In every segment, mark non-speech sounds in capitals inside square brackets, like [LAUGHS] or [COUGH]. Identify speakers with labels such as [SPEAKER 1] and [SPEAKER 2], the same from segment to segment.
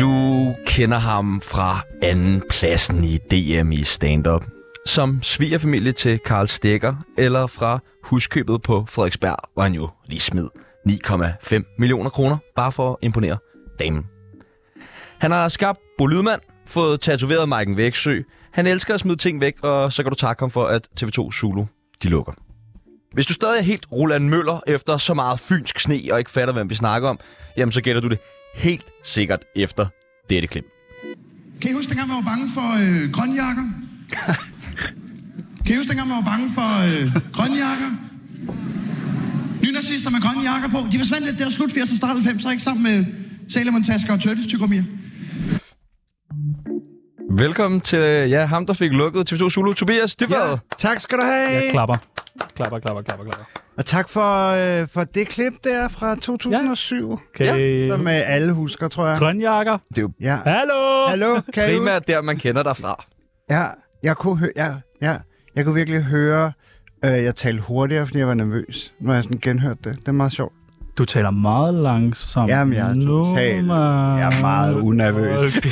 [SPEAKER 1] Du kender ham fra anden pladsen i DM i stand-up. Som svigerfamilie til Karl Stikker, eller fra huskøbet på Frederiksberg, hvor han jo lige smed 9,5 millioner kroner, bare for at imponere damen. Han har skabt Bo Lydman, fået tatoveret Maiken Væksø. Han elsker at smide ting væk, og så kan du takke ham for, at TV2 Zulu de lukker. Hvis du stadig er helt Roland Møller efter så meget fynsk sne og ikke fatter, hvem vi snakker om, jamen så gætter du det helt sikkert efter dette klip.
[SPEAKER 2] Kan I huske, dengang man var bange for øh, grønjakker? kan I huske, dengang man var bange for øh, grønjakker? Nynazister med grønne jakker på. De forsvandt lidt der slut 80'er, start 90'er, ikke? Sammen med Salomon-tasker og Turtles tykkermier.
[SPEAKER 1] Velkommen til øh, ja, ham, der fik lukket TV2 Zulu. Tobias Dybvad. Ja.
[SPEAKER 3] Tak skal du have.
[SPEAKER 4] Jeg klapper. Klapper, klapper, klapper, klapper.
[SPEAKER 3] Og tak for, øh, for det klip der fra 2007,
[SPEAKER 4] Kan
[SPEAKER 3] ja.
[SPEAKER 4] ja,
[SPEAKER 3] som øh, alle husker, tror jeg.
[SPEAKER 4] Grønjakker.
[SPEAKER 1] Det er jo
[SPEAKER 3] Ja.
[SPEAKER 4] Hallo!
[SPEAKER 3] Hallo, kan I ud-
[SPEAKER 1] primært der, man kender dig fra.
[SPEAKER 3] Ja, jeg kunne, hø- ja, ja, jeg kunne virkelig høre, øh, jeg talte hurtigere, fordi jeg var nervøs, når jeg sådan genhørte det. Det er meget sjovt. [LAUGHS]
[SPEAKER 4] Du taler meget langsomt.
[SPEAKER 3] Jamen, jeg er
[SPEAKER 4] Nu,
[SPEAKER 3] totalt-
[SPEAKER 4] man.
[SPEAKER 3] Jeg er meget unervøs.
[SPEAKER 4] Okay,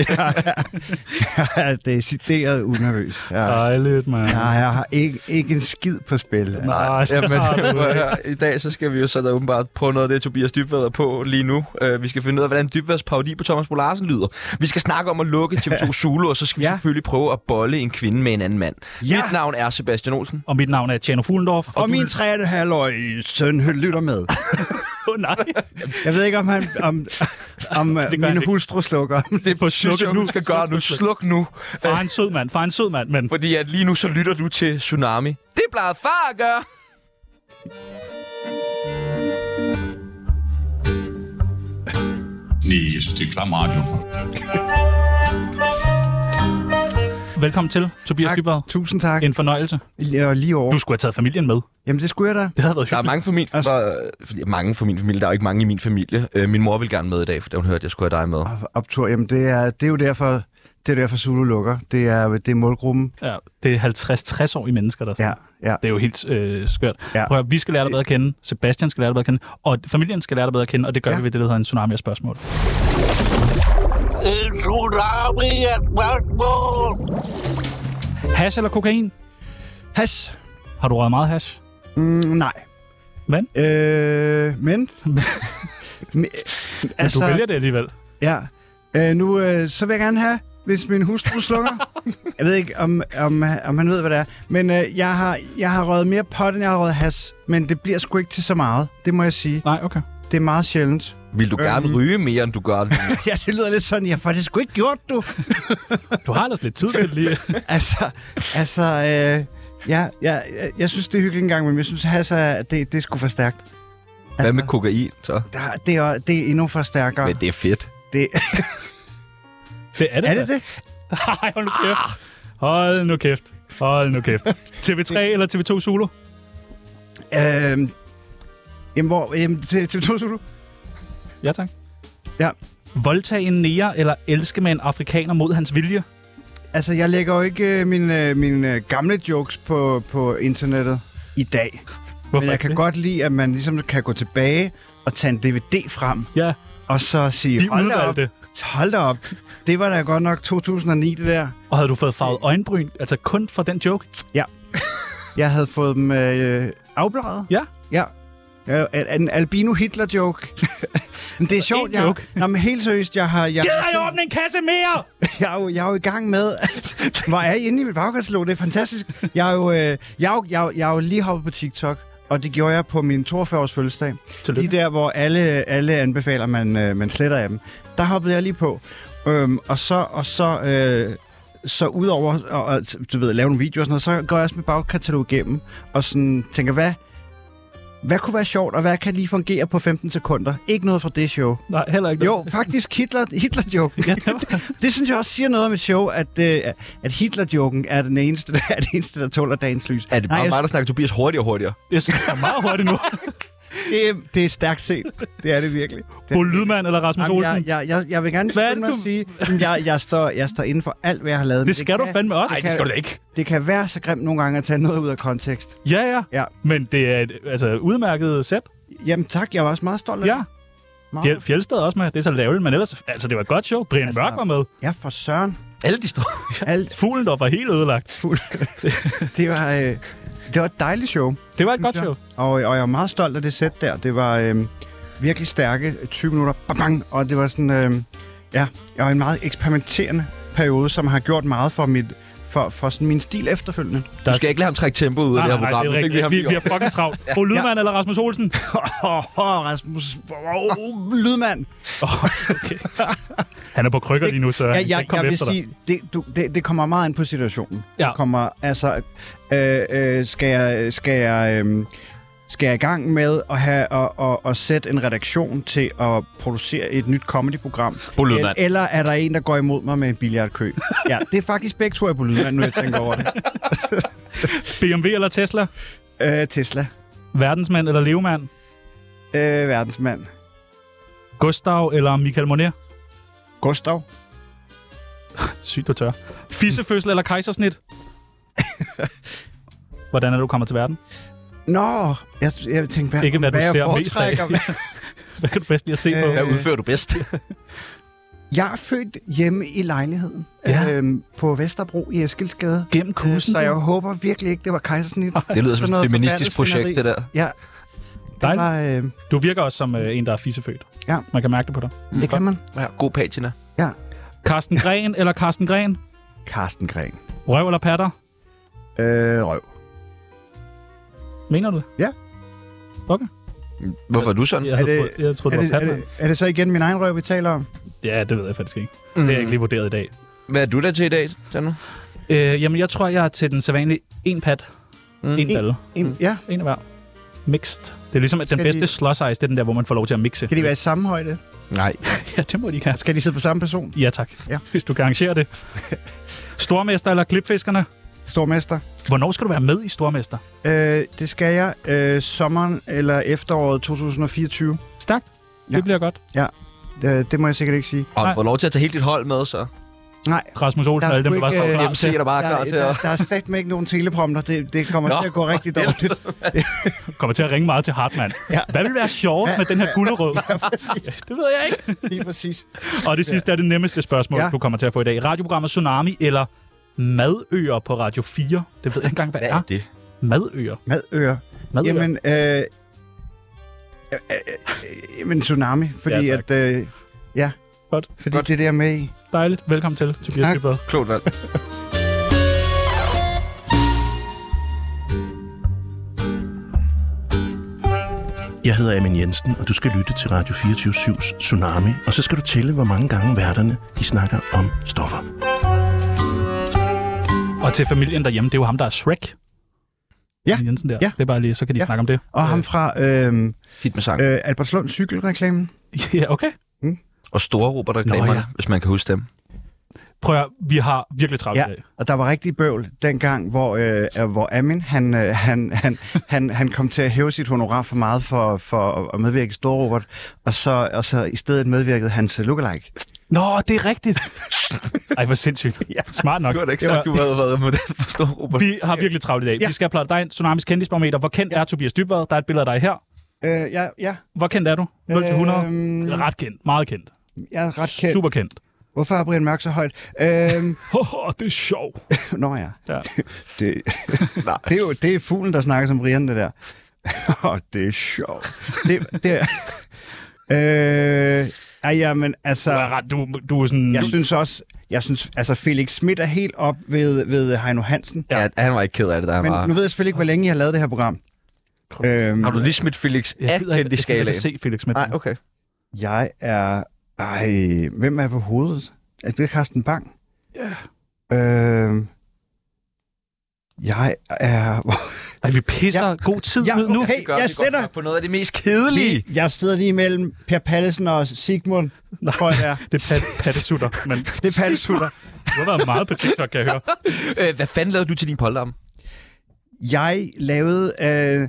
[SPEAKER 3] Jeg er decideret unervøs. Ja.
[SPEAKER 4] dejligt, mand.
[SPEAKER 3] Ja, jeg har ikke, ikke en skid på spil.
[SPEAKER 4] Nej,
[SPEAKER 1] Jamen,
[SPEAKER 4] det har du
[SPEAKER 1] [LAUGHS] prøv at
[SPEAKER 4] ikke.
[SPEAKER 1] høre. I dag så skal vi jo så da åbenbart prøve noget af det, Tobias Dybvad er på lige nu. Uh, vi skal finde ud af, hvordan Dybvads parodi på Thomas Bo Larsen lyder. Vi skal snakke om at lukke TV2 Zulu, og så skal vi
[SPEAKER 3] Ja.
[SPEAKER 1] selvfølgelig prøve at bolle en kvinde med en anden mand.
[SPEAKER 3] Ja.
[SPEAKER 1] Mit navn er Sebastian Olsen.
[SPEAKER 4] Og mit navn er Tjerno Fuglendorf.
[SPEAKER 3] Og min 3,5-årige søn hø- lytter med.
[SPEAKER 4] Åh, [LAUGHS] nej.
[SPEAKER 3] Jeg ved ikke, om, han,
[SPEAKER 4] [LAUGHS]
[SPEAKER 3] om, om øh,
[SPEAKER 4] Det gør han
[SPEAKER 3] min
[SPEAKER 4] ikke.
[SPEAKER 3] hustru slukker.
[SPEAKER 1] Det
[SPEAKER 4] på
[SPEAKER 1] synes
[SPEAKER 4] slukket
[SPEAKER 1] jeg,
[SPEAKER 4] nu.
[SPEAKER 1] du skal gøre nu.
[SPEAKER 4] Sluk, sluk,
[SPEAKER 1] Sluk nu.
[SPEAKER 4] Far er en sød mand. Far er en sød mand, men...
[SPEAKER 1] Fordi at lige nu så lytter du til Tsunami. Det plejede far at gøre.
[SPEAKER 5] Nej, jeg synes, det er klam radio.
[SPEAKER 4] Velkommen til, Tobias Dybvad.
[SPEAKER 3] Tusind tak.
[SPEAKER 4] En fornøjelse.
[SPEAKER 3] Og lige over.
[SPEAKER 4] Du skulle have taget familien med.
[SPEAKER 3] Jamen, det skulle jeg da.
[SPEAKER 4] Det havde været
[SPEAKER 1] Der er
[SPEAKER 4] hyggeligt.
[SPEAKER 1] mange fra min, altså,
[SPEAKER 3] Altså-
[SPEAKER 1] der, fordi- mange fra min familie. Der er jo ikke mange i min familie. Øh, min mor vil gerne med i dag, for da hun hørte, at jeg skulle have dig med.
[SPEAKER 3] Optur, jamen, det er, det er jo derfor, det er derfor Zulu lukker. Det er, det er målgruppen.
[SPEAKER 4] Ja, det er 50-60 år i mennesker, der
[SPEAKER 3] Ja, ja.
[SPEAKER 4] Det er jo helt øh, skørt. Ja.
[SPEAKER 3] Ja.
[SPEAKER 4] Prøv at, høre, vi skal lære dig bedre at kende, Sebastian skal lære dig bedre at kende, og familien skal lære dig bedre at kende, og det gør ja.
[SPEAKER 3] Ja.
[SPEAKER 4] vi ved det, der hedder en tsunami af spørgsmål.
[SPEAKER 6] En tsunami af spørgsmål.
[SPEAKER 4] Hash eller kokain?
[SPEAKER 3] Has.
[SPEAKER 4] Har du røget meget hash?
[SPEAKER 3] Mm, nej.
[SPEAKER 4] Men?
[SPEAKER 3] Øh, [LAUGHS] men? men
[SPEAKER 4] Altså... Du vælger det alligevel.
[SPEAKER 3] Ja. Øh, nu, øh, så vil jeg gerne have, hvis min hustru slukker. jeg ved ikke, om, om, om han ved, hvad det er. Men øh, jeg, har, jeg har røget mere pot, end jeg har røget has. Men det bliver sgu ikke til så meget. Det må jeg sige.
[SPEAKER 4] Nej, okay.
[SPEAKER 3] Det er meget sjældent.
[SPEAKER 1] Vil du gerne
[SPEAKER 3] Øhm.
[SPEAKER 1] ryge mere, end du gør nu?
[SPEAKER 3] [LAUGHS] ja, det lyder lidt sådan. Jeg får det sgu ikke gjort, du.
[SPEAKER 4] Du har ellers lidt tid til det [LAUGHS] lige.
[SPEAKER 3] [LAUGHS] altså, altså øh, ja, ja, jeg, jeg synes, det er hyggeligt engang, men jeg synes, has er, det, det er sgu for stærkt. Altså,
[SPEAKER 1] Hvad med kokain, så?
[SPEAKER 3] Der, det, er, det er endnu for stærkere.
[SPEAKER 1] Men det er fedt.
[SPEAKER 3] det,
[SPEAKER 4] Det er det.
[SPEAKER 3] er det
[SPEAKER 4] da.
[SPEAKER 3] det?
[SPEAKER 4] Ej, hold nu kæft. Hold nu kæft. Hold nu [LAUGHS] kæft. TV3 eller TV2 Solo?
[SPEAKER 3] Øhm, jamen, hvor... Jamen, til, til, til, til, til,
[SPEAKER 4] Ja, tak.
[SPEAKER 3] Ja.
[SPEAKER 4] Voldtage en nære eller elske med en afrikaner mod hans vilje?
[SPEAKER 3] Altså, jeg lægger jo ikke øh, mine, øh, mine øh, gamle jokes på, på internettet i dag.
[SPEAKER 4] Hvorfor
[SPEAKER 3] Men jeg
[SPEAKER 4] ikke
[SPEAKER 3] kan
[SPEAKER 4] det?
[SPEAKER 3] godt lide, at man ligesom kan gå tilbage og tage en DVD frem,
[SPEAKER 4] Ja,
[SPEAKER 3] og så sige,
[SPEAKER 4] de
[SPEAKER 3] hold da op,
[SPEAKER 4] udvalgte.
[SPEAKER 3] hold da op, det var da godt nok 2009, det der.
[SPEAKER 4] Og havde du fået farvet øjenbryn, altså kun for den joke?
[SPEAKER 3] Jeg havde fået dem øh, afbladet.
[SPEAKER 4] Ja.
[SPEAKER 3] Ja. Ja, en- En albino Hitler-joke. [LAUGHS] men det er sjovt, jeg...
[SPEAKER 4] joke.
[SPEAKER 3] Nå, men helt seriøst, jeg har... Jeg,
[SPEAKER 4] Gider jeg åbne en kasse mere?
[SPEAKER 3] jeg, er jo, jeg er jo i gang med... [LAUGHS] Hvor er I inde i mit baggrundslåg? Det er fantastisk. Jeg er jo, øh, jeg er jo, jeg er jo, jeg er jo lige hoppet på TikTok, og det gjorde jeg på min 42-års fødselsdag.
[SPEAKER 4] Tillykke.
[SPEAKER 3] Lige der, hvor alle, alle anbefaler, man, øh, man sletter af dem. Der hoppede jeg lige på. Øhm, og så... Og så øh, så udover at, at du ved, lave en video og sådan noget, så går jeg også mit bagkatalog igennem og sådan tænker, hvad, hvad kunne være sjovt, og hvad kan lige fungere på 15 sekunder? Ikke noget fra det show.
[SPEAKER 4] Nej, heller ikke. [LAUGHS]
[SPEAKER 3] Jo, faktisk Hitler, Hitler-joken.
[SPEAKER 4] Ja, det var...
[SPEAKER 3] Det synes jeg også siger noget om et show, at, øh, at Hitler-joken er den eneste, [LAUGHS] er den eneste, der tåler dagens lys.
[SPEAKER 1] Er det bare
[SPEAKER 3] Nej,
[SPEAKER 1] mig,
[SPEAKER 3] jeg,
[SPEAKER 1] der snakker Tobias hurtigere og hurtigere?
[SPEAKER 4] Jeg synes, det er meget
[SPEAKER 3] [LAUGHS]
[SPEAKER 4] hurtigt nu.
[SPEAKER 3] det, er- det er stærkt set. Det er det virkelig. Det,
[SPEAKER 4] Bo Lydman eller Rasmus
[SPEAKER 3] Jamen,
[SPEAKER 4] Olsen?
[SPEAKER 3] jeg, jeg, jeg, jeg vil gerne
[SPEAKER 4] Hvad er
[SPEAKER 3] skynde mig
[SPEAKER 4] det,
[SPEAKER 3] at sige, at jeg, jeg, står, jeg står inden for alt, hvad jeg har lavet. men
[SPEAKER 4] Det skal du
[SPEAKER 3] kan,
[SPEAKER 4] fandme også.
[SPEAKER 1] Nej, det skal du da ikke.
[SPEAKER 3] Det kan være så grimt nogle gange at tage noget ud af kontekst.
[SPEAKER 4] Ja, ja.
[SPEAKER 3] Ja.
[SPEAKER 4] Men det er et altså, udmærket sæt.
[SPEAKER 3] Jamen tak, jeg var også meget stolt af
[SPEAKER 4] Ja.
[SPEAKER 3] det.
[SPEAKER 4] Fjel, Fjeldsted er også med. Det er så lavt, men ellers... Altså, det var et godt show. Brian altså, Mørk var med.
[SPEAKER 3] Ja, for søren.
[SPEAKER 1] Alle de store.
[SPEAKER 3] Alt
[SPEAKER 4] Fuglen der var helt ødelagt. [LAUGHS]
[SPEAKER 3] fuld. det, var, øh, det var et dejligt show.
[SPEAKER 4] Det var et godt show.
[SPEAKER 3] Og, og jeg er meget stolt af det sæt der. Det var øh, virkelig stærke 20 minutter. Bang, bang, og det var sådan... Øh, ja, jeg var i en meget eksperimenterende periode, som har gjort meget for mit for, for sådan min stil efterfølgende.
[SPEAKER 1] Du skal ikke lade ham trække tempoet ud af det her program.
[SPEAKER 4] det
[SPEAKER 1] Nu
[SPEAKER 4] er
[SPEAKER 1] fik vi
[SPEAKER 4] rigtigt.
[SPEAKER 1] ham
[SPEAKER 4] Vi,
[SPEAKER 1] lige
[SPEAKER 4] vi
[SPEAKER 1] over.
[SPEAKER 4] er fucking travlt. Fru Lydmann eller Rasmus Olsen?
[SPEAKER 3] Åh, [LAUGHS] oh, Rasmus, oh, lydmand.
[SPEAKER 4] Oh, okay. [LAUGHS] Han er på krykker lige nu, så
[SPEAKER 3] Ja,
[SPEAKER 4] ja, han kan
[SPEAKER 3] jeg,
[SPEAKER 4] ikke komme
[SPEAKER 3] jeg vil
[SPEAKER 4] efter dig.
[SPEAKER 3] sige, det, du, det, det kommer meget an på situationen.
[SPEAKER 4] Ja.
[SPEAKER 3] Det kommer, altså, øh, øh, skal jeg, skal jeg, øh, skal jeg i gang med at have og, og, og sætte en redaktion til at producere et nyt comedyprogram?
[SPEAKER 1] Bo Lydmand.
[SPEAKER 3] Eller er der en, der går imod mig med en billardkø? ja, det er faktisk begge to, jeg er på Lydmand, nu jeg tænker over det.
[SPEAKER 4] BMW eller Tesla?
[SPEAKER 3] Øh, Tesla.
[SPEAKER 4] Verdensmand eller Levemand?
[SPEAKER 3] Øh, verdensmand.
[SPEAKER 4] Gustav eller Michael Monet?
[SPEAKER 3] Gustav.
[SPEAKER 4] Sygt, du tør. Fissefødsel eller kejsersnit? Hvordan er det, du kommer til verden? [LAUGHS]
[SPEAKER 3] Nå, jeg, jeg tænkte, hvad,
[SPEAKER 4] Ikke, hvad du
[SPEAKER 3] jeg
[SPEAKER 4] ser mest af.
[SPEAKER 3] foretrækker.
[SPEAKER 4] [LAUGHS] Hvad kan du bedst lige at se på?
[SPEAKER 1] Hvad udfører du bedst?
[SPEAKER 3] Jeg er født hjemme i lejligheden
[SPEAKER 4] Ja.
[SPEAKER 3] ja. øhm, på Vesterbro i Eskilsgade.
[SPEAKER 4] Gennem
[SPEAKER 3] Øh,
[SPEAKER 4] kussen.
[SPEAKER 3] Så jeg håber virkelig ikke, det var kejsersnit.
[SPEAKER 4] Ah,
[SPEAKER 1] Det lyder som
[SPEAKER 3] Sådan
[SPEAKER 1] et
[SPEAKER 3] noget
[SPEAKER 1] feministisk
[SPEAKER 3] forbandet
[SPEAKER 1] projekt,
[SPEAKER 3] svineri.
[SPEAKER 1] det der.
[SPEAKER 3] Ja, det,
[SPEAKER 4] Dejligt. Mm,
[SPEAKER 3] var, øh,
[SPEAKER 4] Du virker også som øh, en, der er fissefødt.
[SPEAKER 3] Ja.
[SPEAKER 4] Man kan mærke det på dig.
[SPEAKER 3] det kan man.
[SPEAKER 1] Ja, god patina.
[SPEAKER 4] Carsten Gren eller Carsten Gren?
[SPEAKER 3] Karsten Gren.
[SPEAKER 4] Røv eller patter?
[SPEAKER 3] Øh, røv.
[SPEAKER 4] Mener du det?
[SPEAKER 1] Hvorfor er du sådan?
[SPEAKER 4] Jeg, havde
[SPEAKER 3] det-
[SPEAKER 4] troet, jeg troede,
[SPEAKER 3] Er
[SPEAKER 4] det,
[SPEAKER 3] det,
[SPEAKER 4] var
[SPEAKER 3] er,
[SPEAKER 4] patter.
[SPEAKER 3] det, er det så igen min egen røv, vi taler om?
[SPEAKER 4] Ja, det ved jeg faktisk ikke. Det
[SPEAKER 3] Mm.
[SPEAKER 4] er jeg ikke lige vurderet i dag.
[SPEAKER 1] Hvad er du der til i dag, Danu?
[SPEAKER 4] Øh, jamen, jeg tror, jeg er til den sædvanlige en pat, mm. en balle,
[SPEAKER 3] En, Ja,
[SPEAKER 4] en af hver. Mixed. Det er ligesom, at den
[SPEAKER 3] Skal
[SPEAKER 4] bedste
[SPEAKER 3] de-
[SPEAKER 4] slush ice, det er den der, hvor man får lov til at mixe.
[SPEAKER 3] kan de være i samme højde?
[SPEAKER 1] Nej.
[SPEAKER 4] [LAUGHS] Ja, det må de gerne.
[SPEAKER 3] Skal de sidde på samme person?
[SPEAKER 4] Ja, tak. Ja.
[SPEAKER 3] Ja.
[SPEAKER 4] Hvis du kan arrangere
[SPEAKER 3] [LAUGHS]
[SPEAKER 4] det. Stormester eller klipfiskerne?
[SPEAKER 3] Stormester.
[SPEAKER 4] Hvornår skal du være med i Stormester?
[SPEAKER 3] Øh, det skal jeg øh, sommeren eller efteråret 2024.
[SPEAKER 4] Stærkt. Ja.
[SPEAKER 3] Ja.
[SPEAKER 4] Det bliver godt.
[SPEAKER 3] Øh, det må jeg sikkert ikke sige.
[SPEAKER 1] Og du
[SPEAKER 4] Nej.
[SPEAKER 1] får lov til at tage hele dit hold med, så.
[SPEAKER 3] Nej.
[SPEAKER 4] Rasmus Olsen
[SPEAKER 3] Der
[SPEAKER 4] og
[SPEAKER 3] er
[SPEAKER 4] alle dem,
[SPEAKER 3] sgu
[SPEAKER 4] der bare
[SPEAKER 3] ikke,
[SPEAKER 4] står
[SPEAKER 3] øh,
[SPEAKER 4] klar
[SPEAKER 1] Jamen, se
[SPEAKER 4] til.
[SPEAKER 1] dig bare Ah, klar
[SPEAKER 3] Der,
[SPEAKER 1] til at...
[SPEAKER 3] der, der er sat med ikke nogen teleprompter. Det, det kommer
[SPEAKER 1] Nå,
[SPEAKER 3] til at gå rigtig dårligt. [LAUGHS]
[SPEAKER 4] Kommer til at ringe meget til Hartmann. ja. Hvad vil være sjovt med den her
[SPEAKER 3] [LAUGHS]
[SPEAKER 4] gulderød? det ved jeg ikke.
[SPEAKER 3] Lige præcis.
[SPEAKER 4] Og det sidste er det nemmeste spørgsmål, ja.
[SPEAKER 3] Ja.
[SPEAKER 4] du kommer til at få i dag. Radioprogrammet Tsunami eller Madøer på Radio 4? Det ved jeg ikke engang, hvad,
[SPEAKER 1] Hvad
[SPEAKER 4] er.
[SPEAKER 1] er det?
[SPEAKER 4] Madøer.
[SPEAKER 3] Madøer.
[SPEAKER 4] Madøer.
[SPEAKER 3] Jamen, øh, øh, øh, øh, jamen tsunami, fordi
[SPEAKER 4] Ja,
[SPEAKER 3] ja, at...
[SPEAKER 4] tak.
[SPEAKER 3] Øh, ja,
[SPEAKER 4] Godt.
[SPEAKER 3] fordi Godt. det der med i...
[SPEAKER 4] Dejligt. Velkommen til, Tobias
[SPEAKER 3] Tak.
[SPEAKER 4] Dybvad.
[SPEAKER 1] Klogt valg.
[SPEAKER 5] Jeg hedder Amin Jensen, og du skal lytte til Radio 24-7's Tsunami, og så skal du tælle, hvor mange gange værterne de snakker om stoffer.
[SPEAKER 4] Og til familien derhjemme, det er jo ham, der er Shrek.
[SPEAKER 3] Ja.
[SPEAKER 4] Amin Jensen der.
[SPEAKER 3] Ja.
[SPEAKER 4] Det er bare lige, så kan de
[SPEAKER 3] Ja.
[SPEAKER 4] snakke om det. [LAUGHS]
[SPEAKER 3] Og ham fra øh,
[SPEAKER 1] Hit med sang.
[SPEAKER 3] øh, Albertslund cykelreklamen.
[SPEAKER 4] ja, okay.
[SPEAKER 1] Og store Robert reklamerne,
[SPEAKER 4] ja.
[SPEAKER 1] hvis man kan huske dem.
[SPEAKER 4] Prøv at, høre, vi har virkelig travlt
[SPEAKER 3] Ja,
[SPEAKER 4] i dag.
[SPEAKER 3] og der var rigtig bøvl dengang, hvor, øh, øh, hvor Amin, han, øh, han, han, han, han kom til at hæve sit honorar for meget for, for at medvirke i Store Robert, og så, og så i stedet medvirkede hans lookalike.
[SPEAKER 4] Nå, det er
[SPEAKER 3] [LAUGHS]
[SPEAKER 4] rigtigt. Ej, hvor sindssygt. ja. Smart nok.
[SPEAKER 1] Du har da ikke
[SPEAKER 4] Det
[SPEAKER 1] sagt,
[SPEAKER 4] var-
[SPEAKER 1] du havde været model for store Robert.
[SPEAKER 4] Vi har virkelig travlt i dag. Ja.
[SPEAKER 3] Ja.
[SPEAKER 4] Vi skal have dig ind. Tsunamis kendisbarometer. Hvor kendt ja. er Tobias Dybvad? Der er et billede af dig her.
[SPEAKER 3] Øh, ja, ja,
[SPEAKER 4] Hvor kendt er du? 0 til 100?
[SPEAKER 3] Øhm.
[SPEAKER 4] Ret kendt. Meget kendt.
[SPEAKER 3] jeg er ret kendt.
[SPEAKER 4] Super kendt.
[SPEAKER 3] Hvorfor er Brian Mørk så højt? Øh,
[SPEAKER 4] [LAUGHS] Åh, oh, det er sjovt.
[SPEAKER 3] Nå ja.
[SPEAKER 4] Ja.
[SPEAKER 3] Det, det, er jo det er fuglen, der snakker som Brian, det der. [LAUGHS] Åh, det er sjovt. Det, det er... [LAUGHS] Øh, ej, jamen,
[SPEAKER 4] Du
[SPEAKER 3] altså...
[SPEAKER 4] er, ret, du, du er sådan...
[SPEAKER 3] Jeg synes også... Jeg synes, altså Felix Schmidt er helt op ved, ved Heino Hansen.
[SPEAKER 1] Ja, han var ikke ked af det, der han
[SPEAKER 3] Men
[SPEAKER 1] var.
[SPEAKER 3] nu ved jeg selvfølgelig ikke, hvor længe jeg har lavet det her program. Øhm,
[SPEAKER 1] Har du lige smidt Felix
[SPEAKER 4] jeg
[SPEAKER 1] af
[SPEAKER 4] gider ikke,
[SPEAKER 1] kendt i
[SPEAKER 4] jeg gider
[SPEAKER 1] skalaen?
[SPEAKER 4] ikke se Felix med
[SPEAKER 1] Nej, okay.
[SPEAKER 3] jeg er... Ej, hvem er på hovedet? Er det Carsten Bang? Ja. Øh, jeg er...
[SPEAKER 4] Ej, vi pisser ja. god tid
[SPEAKER 3] Ja,
[SPEAKER 4] ud nu.
[SPEAKER 3] okay. Jeg
[SPEAKER 1] vi godt
[SPEAKER 3] sætter-
[SPEAKER 1] her på noget af det mest kedelige.
[SPEAKER 3] Lige. [LAUGHS] Jeg sidder lige imellem Per Pallesen og Sigmund, Nej. tror jeg det er.
[SPEAKER 4] Det er pat, pattesutter, men
[SPEAKER 3] [LAUGHS] Det er Pallesutter.
[SPEAKER 4] du har været meget på TikTok, kan
[SPEAKER 3] [LAUGHS]
[SPEAKER 4] jeg høre.
[SPEAKER 1] Øh, hvad fanden lavede du til din polterarm?
[SPEAKER 3] Jeg lavede øh,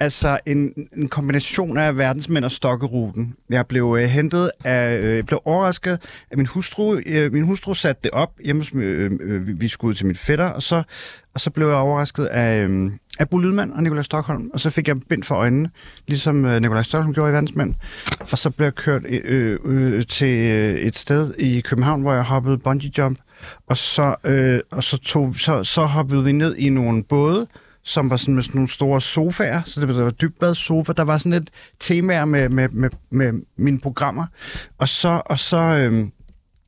[SPEAKER 3] altså en, en kombination af verdensmænd og stokkeruten. Jeg blev øh, hentet af, øh, jeg blev overrasket af min hustru. Øh, min hustru satte det op hjemme, hos mi- øh, øh, vi- vi skulle ud til min fætter, og så, og så blev jeg overrasket af, øh, af Bo Lydman og Nikolaj Stockholm, og så fik jeg bind for øjnene, ligesom øh, Nikolaj Stockholm gjorde i Verdensmænd. Og så blev jeg kørt øh, øh, til øh, et sted i København, hvor jeg hoppede bungee jump, og så, øh, og så, tog, så, så hoppede vi ned i nogle både, som var sådan med sådan nogle store sofaer, så det var, der var dybbad sofa, der var sådan et temaer med, med, med, med mine programmer. Og så, og så, øh,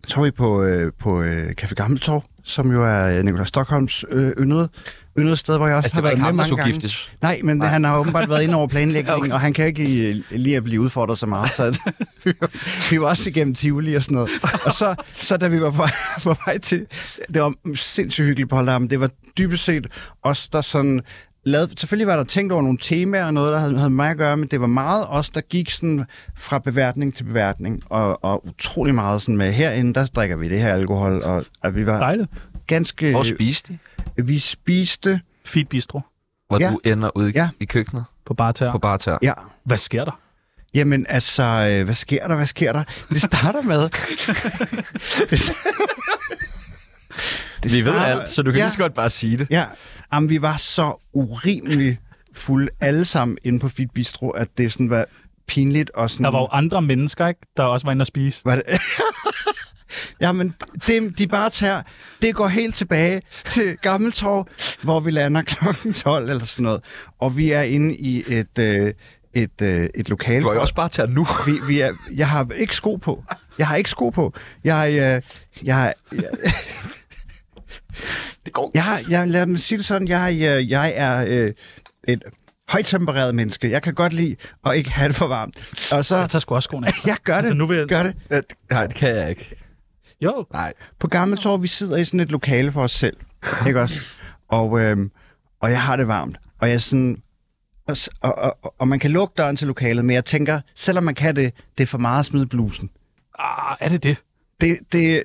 [SPEAKER 3] så var vi på, øh, på øh, Café Gammeltorv, som jo er øh, Nikolaj Stockholms øh, yndede, yndede sted, hvor jeg også
[SPEAKER 1] Altså,
[SPEAKER 3] har
[SPEAKER 1] det var
[SPEAKER 3] været
[SPEAKER 1] ikke
[SPEAKER 3] med
[SPEAKER 1] ham, der
[SPEAKER 3] mange
[SPEAKER 1] skulle
[SPEAKER 3] gange.
[SPEAKER 1] giftes?
[SPEAKER 3] Nej, men Nej. han har åbenbart været inde over planlægningen, okay. og han kan ikke lide, lide at blive udfordret så meget. Så vi, var, vi var også igennem Tivoli og sådan noget. Og så, så da vi var på, på vej [LAUGHS] til... Det var sindssygt hyggeligt på Holdarmen. Det var dybest set os, der sådan... Lavede, selvfølgelig var der tænkt over nogle temaer og noget, der havde, havde med mig at gøre, men det var meget os, der gik sådan fra beværtning til beværtning, og, og utrolig meget sådan med herinde, der drikker vi det her alkohol, og, og vi var
[SPEAKER 4] Dejligt.
[SPEAKER 3] ganske...
[SPEAKER 1] Hvor spiste de?
[SPEAKER 3] vi spiste...
[SPEAKER 4] Fint bistro
[SPEAKER 1] Hvor
[SPEAKER 3] Ja.
[SPEAKER 1] du ender ude ja.
[SPEAKER 3] Ja.
[SPEAKER 1] i køkkenet
[SPEAKER 4] på barter.
[SPEAKER 1] på barter.
[SPEAKER 3] Ja,
[SPEAKER 4] Hvad sker der?
[SPEAKER 3] Jamen altså, øh, hvad sker der, hvad sker der? Det starter med... det
[SPEAKER 1] Vi ved
[SPEAKER 3] starter-
[SPEAKER 1] alt, så du kan
[SPEAKER 3] ja,
[SPEAKER 1] lige så godt bare sige det.
[SPEAKER 3] Ja, Jamen, vi var så urimelig fulde alle sammen inde på Fit Bistro, at det sådan var pinligt og sådan...
[SPEAKER 4] Der var jo andre mennesker, ikke, der også var inde og spise.
[SPEAKER 3] Var det? Jamen, det, de bare tager... Det går helt tilbage til Gammeltorv, hvor vi lander kl. 12 eller sådan noget. Og vi er inde i et, øh, et, øh, et lokale...
[SPEAKER 1] Du var jo også bare tage nu.
[SPEAKER 3] Vi, vi er, jeg har ikke sko på. Jeg har ikke sko på. Jeg, øh, jeg, jeg,
[SPEAKER 1] Det går
[SPEAKER 3] jeg, har- jeg lad mig sige det sådan, jeg, øh, jeg er øh, et højtempereret menneske. Jeg kan godt lide at ikke have det for varmt. Og
[SPEAKER 4] Jeg
[SPEAKER 3] så,
[SPEAKER 4] tager sgu også skoene af.
[SPEAKER 3] jeg gør det,
[SPEAKER 4] Altså, nu vil jeg-
[SPEAKER 3] gør det.
[SPEAKER 1] Ja, det- Nej, det kan jeg ikke.
[SPEAKER 4] Jo,
[SPEAKER 1] Nej.
[SPEAKER 3] På Gammeltorv, vi sidder i sådan et lokale for os selv, ikke også? Og, øhm, og jeg har det varmt, og jeg er sådan... Og, s- og, og, og man kan lukke døren til lokalet, men jeg tænker, selvom man kan det, det er for meget at smide blusen.
[SPEAKER 4] ah, er det det?
[SPEAKER 3] det, det,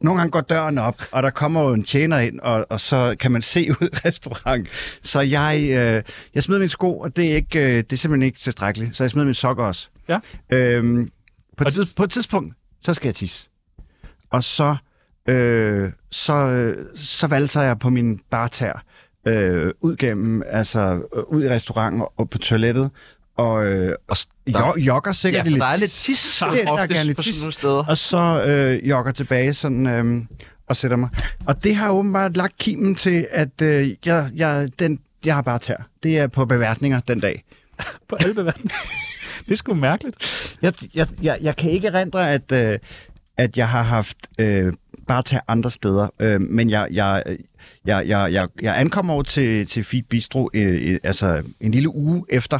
[SPEAKER 3] nogle gange går døren op, og der kommer jo en tjener ind, og, og så kan man se [LAUGHS] ud i restaurant. Så jeg, øh, jeg smed min sko, og det er, ikke, øh, det er simpelthen ikke tilstrækkeligt. Så jeg smed min sokker også.
[SPEAKER 4] Ja.
[SPEAKER 3] Øhm, på,
[SPEAKER 4] Og-
[SPEAKER 3] et tids, på et tidspunkt, så skal jeg tisse. Og så, øh, så, øh, så valser jeg på min bartær øh, ud gennem, altså øh, ud i restauranten og, og på toilettet, og øh,
[SPEAKER 1] Og s-
[SPEAKER 3] jo, jogger
[SPEAKER 1] ja,
[SPEAKER 3] sikkert
[SPEAKER 1] for
[SPEAKER 3] lidt.
[SPEAKER 1] der er lidt tis
[SPEAKER 3] Det- der er
[SPEAKER 1] oftest
[SPEAKER 3] gerne lidt
[SPEAKER 1] på sådan
[SPEAKER 3] tis.
[SPEAKER 1] nogle steder.
[SPEAKER 3] Og så øh, jogger tilbage sådan, øh, og sætter mig. Og det har åbenbart lagt kimen til, at øh, jeg, jeg, den, jeg har bare tær. Det er på beværtninger den dag.
[SPEAKER 4] På Albevandet. [LAUGHS] det er sgu mærkeligt.
[SPEAKER 3] Jeg, jeg, jeg, jeg kan ikke erindre, at, øh, at jeg har haft øh, bare tær andre steder. Øh, men jeg, jeg, jeg, jeg, jeg, jeg ankommer over til, til Fit Bistro øh, øh, altså en lille uge efter,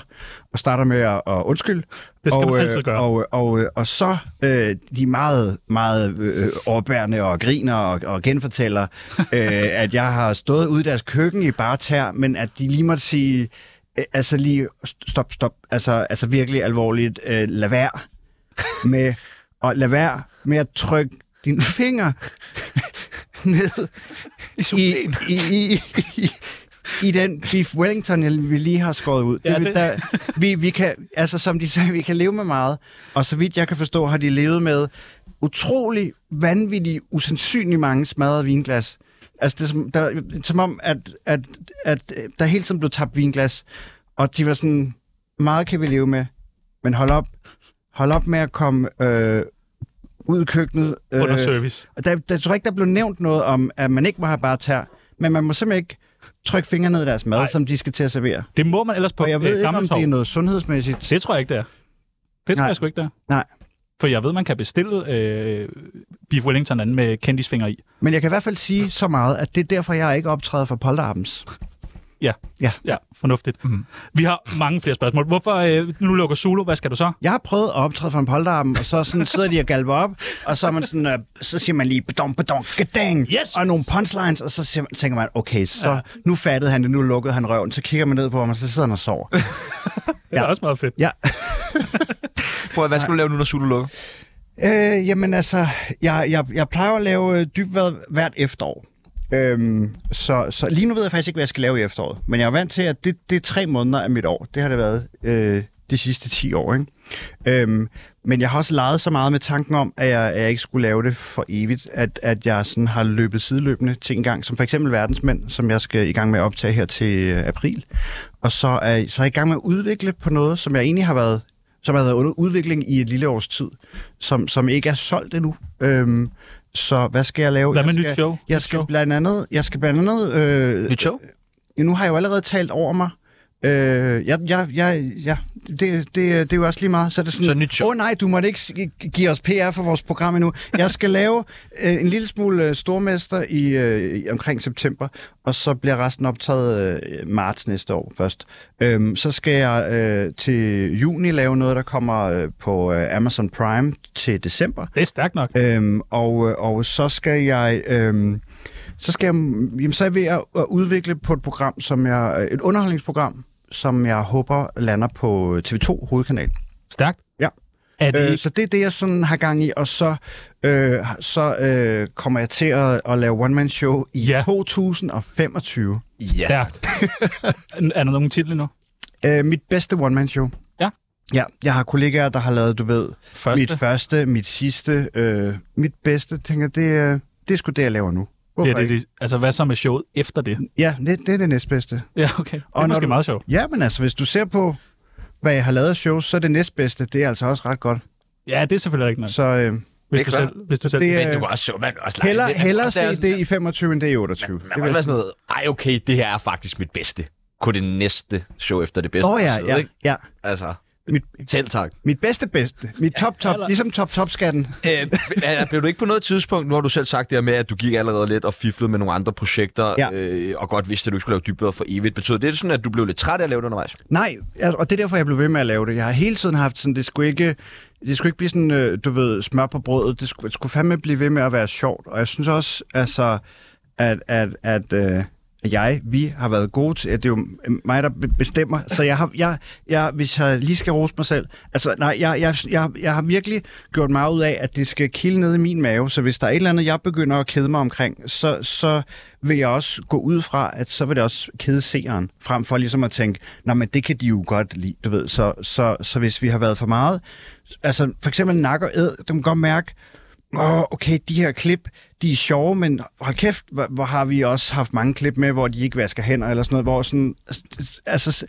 [SPEAKER 3] og starter med at, at undskylde.
[SPEAKER 4] Det skal
[SPEAKER 3] og, øh,
[SPEAKER 4] man altid gøre.
[SPEAKER 3] Og, øh, og, øh, og så øh, de er meget, meget øh, overbærende og griner og, og genfortæller, øh, at jeg har stået ude i deres køkken i barter, men at de lige måtte sige, øh, altså lige st- stop, stop, altså, altså virkelig alvorligt, øh, lad være med, og lad være med at trykke dine fingre [LAUGHS] ned i, i, i, i, i den beef Wellington, jeg- vi lige har skåret ud.
[SPEAKER 4] Ja,
[SPEAKER 3] Ja, det,
[SPEAKER 4] det-
[SPEAKER 3] det. Der, vi, vi kan, altså som de sagde, vi kan leve med meget, og så vidt jeg kan forstå, har de levet med utrolig vanvittige, usandsynligt mange smadrede vinglas. Altså det er som, der, som om, at, at, at der hele tiden blev tabt vinglas, og de var sådan, meget kan vi leve med, men hold op, hold op med at komme øh, ud i køkkenet. øh,
[SPEAKER 4] Under service.
[SPEAKER 3] og der, der tror jeg ikke, der blev nævnt noget om, at man ikke må have bare tær, men man må simpelthen ikke trykke fingre ned i deres mad,
[SPEAKER 4] Nej.
[SPEAKER 3] Nej. som de skal til at servere.
[SPEAKER 4] Det må man ellers på
[SPEAKER 3] Og jeg ved
[SPEAKER 4] øh,
[SPEAKER 3] ikke, om
[SPEAKER 4] Gammeltorv.
[SPEAKER 3] det er noget sundhedsmæssigt.
[SPEAKER 4] Det tror jeg ikke, det er. Det tror
[SPEAKER 3] Nej.
[SPEAKER 4] jeg sgu ikke, det er.
[SPEAKER 3] Nej.
[SPEAKER 4] For jeg ved, man kan bestille øh, Beef Wellington anden med kendisfinger i.
[SPEAKER 3] Men jeg kan i hvert fald sige så meget, at det er derfor, jeg ikke optræder for Polterabens.
[SPEAKER 4] Ja.
[SPEAKER 3] Ja.
[SPEAKER 4] Ja, fornuftigt.
[SPEAKER 3] Mhm.
[SPEAKER 4] Mm. Vi har mange flere spørgsmål. Hvorfor, øh, nu lukker Solo, hvad skal du så?
[SPEAKER 3] Jeg har prøvet at optræde for en polterappen, og så sådan sidder de og galver op, og så, er man sådan, øh, så siger man lige, badong, badong, gadang,
[SPEAKER 4] Yes!
[SPEAKER 3] og nogle punchlines, og så siger man, tænker man, okay, så ja. nu fattede han det, nu lukkede han røven, så kigger man ned på ham, og så sidder han og sover.
[SPEAKER 4] Det er
[SPEAKER 3] Ja.
[SPEAKER 4] også meget fedt.
[SPEAKER 3] Ja,
[SPEAKER 1] Prøv at, hvad skal du lave nu, når Zulu lukker?
[SPEAKER 3] Øh, jamen altså, jeg, jeg, jeg plejer at lave øh, dybvad hvert efterår. Øhm, så, så lige nu ved jeg faktisk ikke, hvad jeg skal lave i efteråret. Men jeg er vant til, at det, det er tre måneder af mit år. Det har det været øh, de sidste 10 år. Ikke? Øhm, men jeg har også leget så meget med tanken om, at jeg, at jeg ikke skulle lave det for evigt, at, at jeg sådan har løbet sideløbende til en gang, som for eksempel Verdensmænd, som jeg skal i gang med at optage her til øh, april. Og så er, så er jeg i gang med at udvikle på noget, som jeg egentlig har været som har været under udvikling i et lille års tid, som, som ikke er solgt endnu. Øhm, så hvad skal jeg lave?
[SPEAKER 4] Hvad med
[SPEAKER 3] jeg
[SPEAKER 4] nyt
[SPEAKER 3] skal,
[SPEAKER 4] show?
[SPEAKER 3] Jeg
[SPEAKER 4] Nyt
[SPEAKER 3] skal
[SPEAKER 4] show?
[SPEAKER 3] blandt andet, jeg skal blandt andet øh,
[SPEAKER 1] Nyt show?
[SPEAKER 3] nu har jeg jo allerede talt over mig. Øh, ja, ja, ja, ja. Det, det, det er jo også lige meget. Så er det sådan,
[SPEAKER 1] Så nyt show.
[SPEAKER 3] åh oh, nej, du måtte ikke s- gi- give os PR for vores program endnu. Jeg skal lave øh, en lille smule øh, stormester i, øh, i- omkring september, og så bliver resten optaget øh, marts næste år først. Øhm, så skal jeg øh, til juni lave noget, der kommer øh, på øh, Amazon Prime til december.
[SPEAKER 4] Det er stærkt nok.
[SPEAKER 3] Øhm, og, øh, og så skal jeg... Øhm, så skal jeg, jamen, så er jeg ved at at udvikle på et program, som jeg, et underholdningsprogram, som jeg håber lander på TV2 hovedkanal.
[SPEAKER 4] Stærkt.
[SPEAKER 3] Ja.
[SPEAKER 4] Er det
[SPEAKER 3] Øh,
[SPEAKER 4] ikke?
[SPEAKER 3] så det er det, jeg sådan har gang i, og så, øh, så øh, kommer jeg til at, at lave one-man-show i
[SPEAKER 4] Ja.
[SPEAKER 3] ja. 2025.
[SPEAKER 1] Ja.
[SPEAKER 4] Stærkt. er der nogen titler nu?
[SPEAKER 3] Øh, mit bedste one-man-show.
[SPEAKER 4] Ja.
[SPEAKER 3] Ja, jeg har kollegaer, der har lavet, du ved,
[SPEAKER 4] Første.
[SPEAKER 3] mit første, mit sidste, øh, mit bedste, tænker, det, øh, det er sgu det, jeg laver nu.
[SPEAKER 4] Det er
[SPEAKER 3] Hvorfor
[SPEAKER 4] det, det, altså, hvad så med showet efter det?
[SPEAKER 3] Ja, det, det er det næstbedste.
[SPEAKER 4] Ja, okay. Det
[SPEAKER 3] Og
[SPEAKER 4] er
[SPEAKER 3] når
[SPEAKER 4] måske
[SPEAKER 3] du-
[SPEAKER 4] meget sjovt.
[SPEAKER 3] Ja, men altså, hvis du ser på, hvad jeg har lavet af shows, så er det næstbedste, det er altså også ret godt.
[SPEAKER 4] Ja, det er selvfølgelig rigtigt nok.
[SPEAKER 3] Så øh,
[SPEAKER 4] Hvis
[SPEAKER 1] Det er
[SPEAKER 4] du
[SPEAKER 1] klart.
[SPEAKER 4] selv, hvis du selv
[SPEAKER 3] det
[SPEAKER 4] det,
[SPEAKER 1] Men
[SPEAKER 3] er...
[SPEAKER 1] du kan også så, man kan også lege
[SPEAKER 3] Heller,
[SPEAKER 1] lidt. Man kan
[SPEAKER 3] heller
[SPEAKER 1] også lave
[SPEAKER 3] se
[SPEAKER 1] sådan-
[SPEAKER 3] det i 25, end det i
[SPEAKER 1] Man
[SPEAKER 3] 28.
[SPEAKER 1] må
[SPEAKER 3] vil
[SPEAKER 1] ikke
[SPEAKER 3] jeg
[SPEAKER 1] være sådan noget, ej okay, det her er faktisk mit bedste. Kun det næste show efter det bedste.
[SPEAKER 3] Åh oh, ja,
[SPEAKER 1] Så,
[SPEAKER 3] ja,
[SPEAKER 1] ikke?
[SPEAKER 3] ja.
[SPEAKER 1] Altså,
[SPEAKER 3] Mit,
[SPEAKER 1] selv tak.
[SPEAKER 3] mit bedste bedste. Mit top top. Ligesom top top skatten.
[SPEAKER 1] Øh, men blev du ikke på noget tidspunkt, nu har du selv sagt det her med, at du gik allerede lidt og fiflede med nogle andre projekter,
[SPEAKER 3] Ja.
[SPEAKER 1] øh, og godt vidste, at du ikke skulle lave dybere for evigt. Betød det sådan, at du blev lidt træt af at lave det undervejs?
[SPEAKER 3] Nej, altså, og det er derfor, jeg blev ved med at lave det. Jeg har hele tiden haft sådan, det skulle ikke, det skulle ikke blive sådan, øh, du ved, smør på brødet. Det skulle, det skulle fandme blive ved med at være sjovt. Og jeg synes også, altså, at, at, at øh, jeg, vi har været gode til, at det er jo mig, der be- bestemmer. Så jeg har, jeg, jeg, hvis jeg lige skal rose mig selv, altså nej, jeg, jeg, jeg, jeg har virkelig gjort meget ud af, at det skal kilde ned i min mave. Så hvis der er et eller andet, jeg begynder at kede mig omkring, så, så vil jeg også gå ud fra, at så vil det også kede seeren, frem for ligesom at tænke, nej, men det kan de jo godt lide, du ved. Så, så, så hvis vi har været for meget, altså for eksempel nak og æd, dem kan godt mærke, åh, okay, de her klip, de er sjove, men hold kæft, hvor, hvor har vi også haft mange klip med, hvor de ikke vasker hænder eller sådan noget, hvor sådan, altså, s-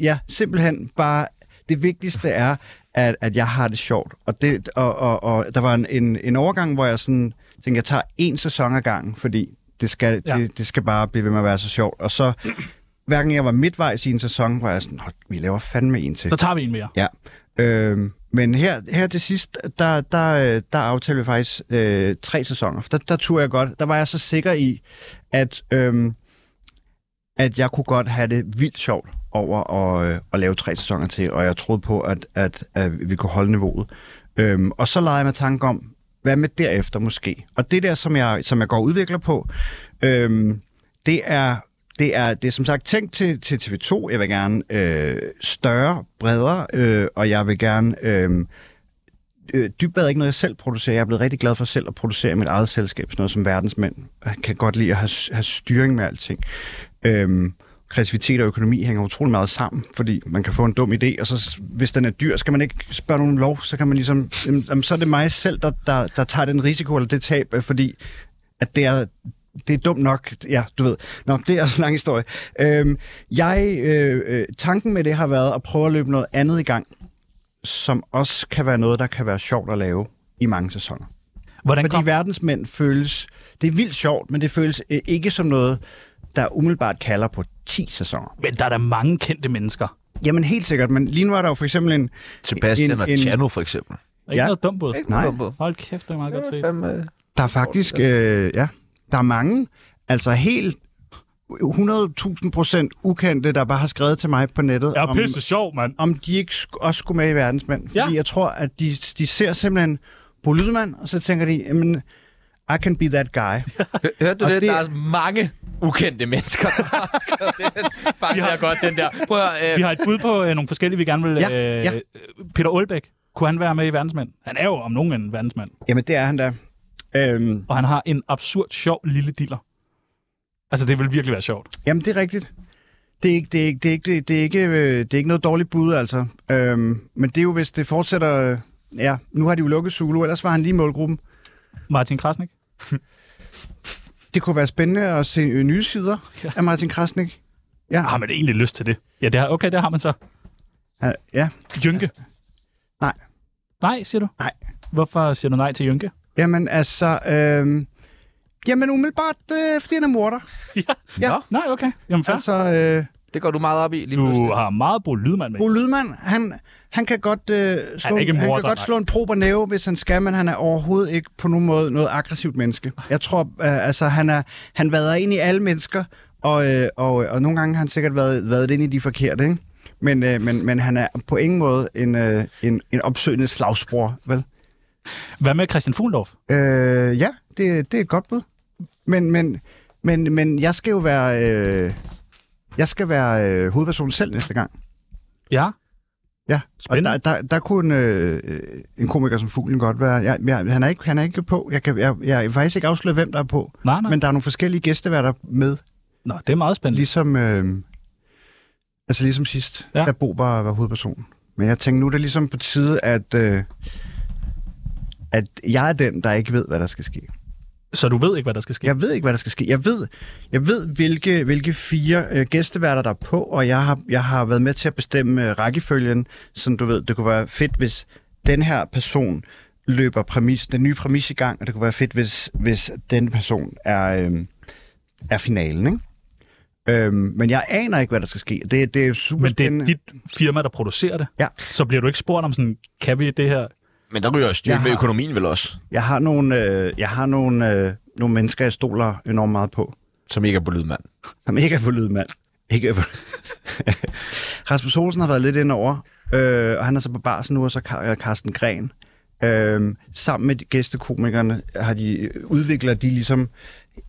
[SPEAKER 3] ja, simpelthen bare, det vigtigste er, at, at jeg har det sjovt. Og, det, og, og, og der var en, en, en overgang, hvor jeg sådan tænkte, jeg tager en sæson ad gangen, fordi det skal,
[SPEAKER 4] Ja.
[SPEAKER 3] ja. det, det skal bare blive ved med at være så sjovt. Og så, hverken jeg var midtvejs i en sæson, hvor jeg sådan, "Nå, vi laver fandme en til.
[SPEAKER 4] altså, så tager vi en mere.
[SPEAKER 3] Ja. Øhm, men her, her til sidst, der, der, øh, der aftalte vi faktisk øh, tre sæsoner. For Der, der turde jeg godt. Der var jeg så sikker i, at, øhm, at jeg kunne godt have det vildt sjovt over at, øh, at lave tre sæsoner til, og jeg troede på, at, at, at vi kunne holde niveauet. Øhm, og så legede jeg med tanke om, hvad med derefter måske? Og det der, som jeg, som jeg går og udvikler på, øhm, det er det er, det er som sagt tænkt til, til TV2. Jeg vil gerne øh, større, bredere, øh, og jeg vil gerne... Øh, øh, dybbad er ikke noget, jeg selv producerer. Jeg er blevet rigtig glad for selv at producere i mit eget selskab, sådan noget som verdensmænd. Jeg kan godt lide at have, have styring med alting. Øhm, kreativitet og økonomi hænger utrolig meget sammen, fordi man kan få en dum idé, og så s- hvis den er dyr, skal man ikke spørge nogen om lov, så kan man ligesom, jamen, jamen, så er det mig selv, der, der, der tager den risiko eller det tab, øh, fordi at det er, det er dumt nok, ja, du ved. Nå, det er også en lang historie. Øhm, jeg, øh, øh, tanken med det har været at prøve at løbe noget andet i gang, som også kan være noget, der kan være sjovt at lave i mange sæsoner.
[SPEAKER 4] Hvordan
[SPEAKER 3] Fordi
[SPEAKER 4] kom?
[SPEAKER 3] verdensmænd føles, det er vildt sjovt, men det føles øh, ikke som noget, der umiddelbart kalder på 10 sæsoner.
[SPEAKER 4] Men der er da mange kendte mennesker.
[SPEAKER 3] Jamen helt sikkert, men lige nu er der jo for eksempel en...
[SPEAKER 1] Sebastian
[SPEAKER 3] en,
[SPEAKER 1] og
[SPEAKER 3] en,
[SPEAKER 1] Chano for eksempel.
[SPEAKER 4] Der er ikke
[SPEAKER 3] Ja.
[SPEAKER 4] noget dumt både.
[SPEAKER 3] Nej.
[SPEAKER 4] Hold kæft, det er meget godt set.
[SPEAKER 3] Der er faktisk, øh, ja, der er mange, altså helt 100.000 procent ukendte, der bare har skrevet til mig på nettet,
[SPEAKER 4] Jeg er
[SPEAKER 3] om,
[SPEAKER 4] pisse sjov, mand.
[SPEAKER 3] om de ikke sk- også skulle med i verdensmænd. Fordi
[SPEAKER 4] Ja.
[SPEAKER 3] jeg tror, at de, de ser simpelthen Bo Lydman, og så tænker de, jamen, I can be that
[SPEAKER 4] [LAUGHS]
[SPEAKER 3] guy.
[SPEAKER 1] Hørte du
[SPEAKER 3] Og
[SPEAKER 1] det?
[SPEAKER 3] det-
[SPEAKER 1] Der er mange ukendte mennesker, der har [LAUGHS] skrevet den. Fang jeg godt, den der. Prøv at, høre, øh,
[SPEAKER 4] Vi har et bud på øh, nogle forskellige, vi gerne vil.
[SPEAKER 3] Ja,
[SPEAKER 4] øh,
[SPEAKER 3] ja.
[SPEAKER 4] Peter Olbæk, kunne han være med i Verdensmænd? Han er jo om nogen en verdensmand.
[SPEAKER 3] Jamen, det er han da. Øhm,
[SPEAKER 4] Og han har en absurd sjov lille diller. Altså, det vil virkelig være sjovt.
[SPEAKER 3] jamen, det er rigtigt. Det er ikke, det er ikke, det er ikke, det er ikke, øh, det er ikke noget dårligt bud, altså. Øhm, men det er jo, hvis det fortsætter... øh, Ja, nu har de jo lukket Zulu, ellers var han lige i målgruppen.
[SPEAKER 4] Martin Krasnik?
[SPEAKER 3] Det kunne være spændende at se øh, nye sider
[SPEAKER 4] Ja.
[SPEAKER 3] ja. af Martin Krasnik. Ja,
[SPEAKER 4] Har man egentlig lyst til Ah, det? Ja, det har, okay, det har man så.
[SPEAKER 3] ja, ja.
[SPEAKER 4] Jynke?
[SPEAKER 3] Nej.
[SPEAKER 4] Nej, siger du?
[SPEAKER 3] Nej.
[SPEAKER 4] Hvorfor siger du nej til Jynke?
[SPEAKER 3] Jamen altså, øhm, jamen umiddelbart, øh, fordi han er morder.
[SPEAKER 4] Nej, okay. Jamen fair.
[SPEAKER 3] Altså, øh,
[SPEAKER 1] Det går du meget op i lige pludselig.
[SPEAKER 4] Du har meget brugt lydmand med.
[SPEAKER 3] Bo Lydman, han, han kan godt, øh, slå,
[SPEAKER 4] er ikke
[SPEAKER 3] han
[SPEAKER 4] morder,
[SPEAKER 3] kan godt
[SPEAKER 4] nej.
[SPEAKER 3] slå en prober næve, hvis han skal, men han er overhovedet ikke på nogen måde noget aggressivt menneske. Jeg tror, øh, altså, han, er, han vader ind i alle mennesker, og, øh, og, og nogle gange har han sikkert været, været ind i de forkerte, ikke? Men, øh, men, men han er på ingen måde en, øh, en, en opsøgende slagsbror, vel?
[SPEAKER 4] Hvad med Christian Fuglendorf?
[SPEAKER 3] Øh, ja, det, det er et godt bud. Men, men, men, men jeg skal jo være, øh, jeg skal være øh, hovedpersonen selv næste gang.
[SPEAKER 4] Ja.
[SPEAKER 3] Ja, og
[SPEAKER 4] Spændende.
[SPEAKER 3] der, der, der kunne øh, øh, en komiker som Fuglen godt være. Jeg, jeg, han, er ikke, han er ikke på. Jeg kan, jeg, jeg vil faktisk ikke afsløre, hvem der er på.
[SPEAKER 4] Nej, nej.
[SPEAKER 3] Men der er nogle forskellige gæsteværter med,
[SPEAKER 4] Nå, det er meget spændende.
[SPEAKER 3] ligesom, øh, altså ligesom sidst,
[SPEAKER 4] Ja.
[SPEAKER 3] ja. da Bo var, var hovedpersonen. Men jeg tænkte, nu er det ligesom på tide, at, øh, at jeg er den, der ikke ved, hvad der skal ske.
[SPEAKER 4] Så du ved ikke, hvad der skal ske?
[SPEAKER 3] Jeg ved ikke, hvad der skal ske. Jeg ved, jeg ved hvilke, hvilke fire øh, gæsteværter der er på, og jeg har, jeg har været med til at bestemme øh, rækkefølgen, som du ved, det kunne være fedt, hvis den her person løber præmis, den nye præmis i gang, og det kunne være fedt, hvis, hvis den person er, øh, er finalen, ikke? Øhm, men jeg aner ikke, hvad der skal ske. Det, det er super
[SPEAKER 4] Men det er
[SPEAKER 3] spændende.
[SPEAKER 4] dit firma, der producerer det.
[SPEAKER 3] Ja.
[SPEAKER 4] Så bliver du ikke spurgt om sådan, kan vi det her?
[SPEAKER 1] Men der ryger jo styr
[SPEAKER 3] Jeg
[SPEAKER 1] med
[SPEAKER 3] har-
[SPEAKER 1] økonomien vel også,
[SPEAKER 3] Jeg har nogle, øh, jeg har nogle, øh, nogle mennesker, jeg stoler enormt meget på.
[SPEAKER 1] som ikke er på lydmand.
[SPEAKER 3] Som ikke er på lyd, mand. Ikke er på... [LAUGHS] Rasmus Olsen har været lidt indover, øh, og han er så på barsen nu, og så Kar- øh, Carsten Gren. Øh, sammen med de gæstekomikerne har de, øh, udvikler de ligesom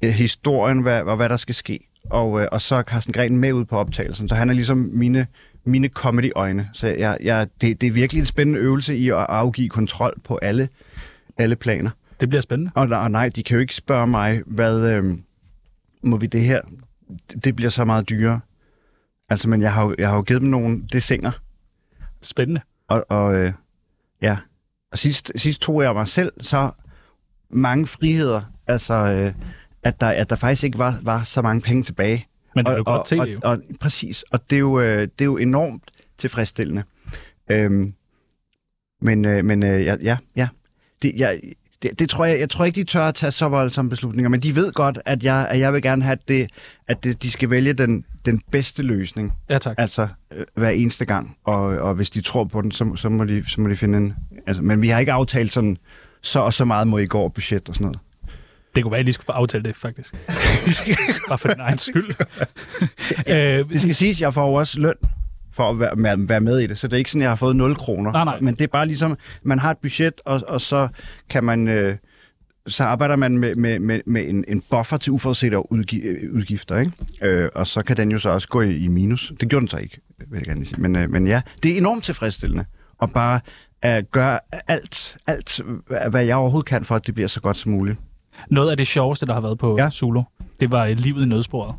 [SPEAKER 3] øh, historien, hvad, og hvad der skal ske. Og, øh, og så er Carsten Gren med ud på optagelsen, så han er ligesom mine, mine comedy-øjne. Så jeg, jeg, det, det er virkelig en spændende øvelse i at afgive kontrol på alle, alle planer.
[SPEAKER 4] Det bliver spændende.
[SPEAKER 3] Og, og nej, de kan jo ikke spørge mig, hvad øh, må vi det her? Det bliver så meget dyrere. Altså, men jeg har, jo- jeg har jo givet dem nogle dessinger,
[SPEAKER 4] Spændende.
[SPEAKER 3] og, og øh, ja. Og sidst, sidst tog jeg mig selv så mange friheder, altså, øh, at, der, at der faktisk ikke var, var så mange penge tilbage.
[SPEAKER 4] Men det
[SPEAKER 3] Og-
[SPEAKER 4] blev godt
[SPEAKER 3] og-
[SPEAKER 4] tv,
[SPEAKER 3] og,
[SPEAKER 4] jo.
[SPEAKER 3] og, og, Præcis, og det er jo, øh, det er jo enormt tilfredsstillende. Øhm, men øh, men øh, ja, ja, ja. Det, jeg, det, det tror jeg, jeg tror ikke, de tør at tage så voldsomme beslutninger, men de ved godt, at jeg, at jeg vil gerne have, at, det, at det, de skal vælge den, den bedste løsning,
[SPEAKER 4] Ja, tak.
[SPEAKER 3] altså øh, hver eneste gang, og, og hvis de tror på den, så, så, må, de, så må de finde en... Altså, men vi har ikke aftalt sådan, så og så meget må I gå over budget og sådan noget.
[SPEAKER 4] Det kunne være, at I lige skulle få aftalt det,
[SPEAKER 3] [LAUGHS]
[SPEAKER 4] faktisk. Bare for din egen skyld. øh,
[SPEAKER 3] Det skal siges, jeg får jo også løn for at være- være, være med i det, så det er ikke sådan, at jeg har fået 0 kroner.
[SPEAKER 4] Nej, nej.
[SPEAKER 3] Men det er bare ligesom, man har et budget, og, og så kan man... Øh, så arbejder man med, med, med, med en, en buffer til uforudsete udgi- øh, udgifter, ikke? Øh, og så kan den jo så også gå i, i minus. Det gjorde den så ikke, vil jeg gerne lige sige. Men, øh, men ja, det er enormt tilfredsstillende at bare øh, gøre alt, alt, hva- hvad jeg overhovedet kan, for at det bliver så godt som muligt.
[SPEAKER 4] noget af det sjoveste, der har været på ja.
[SPEAKER 3] Ja.
[SPEAKER 4] Zulu, det var øh, livet i nødsporet.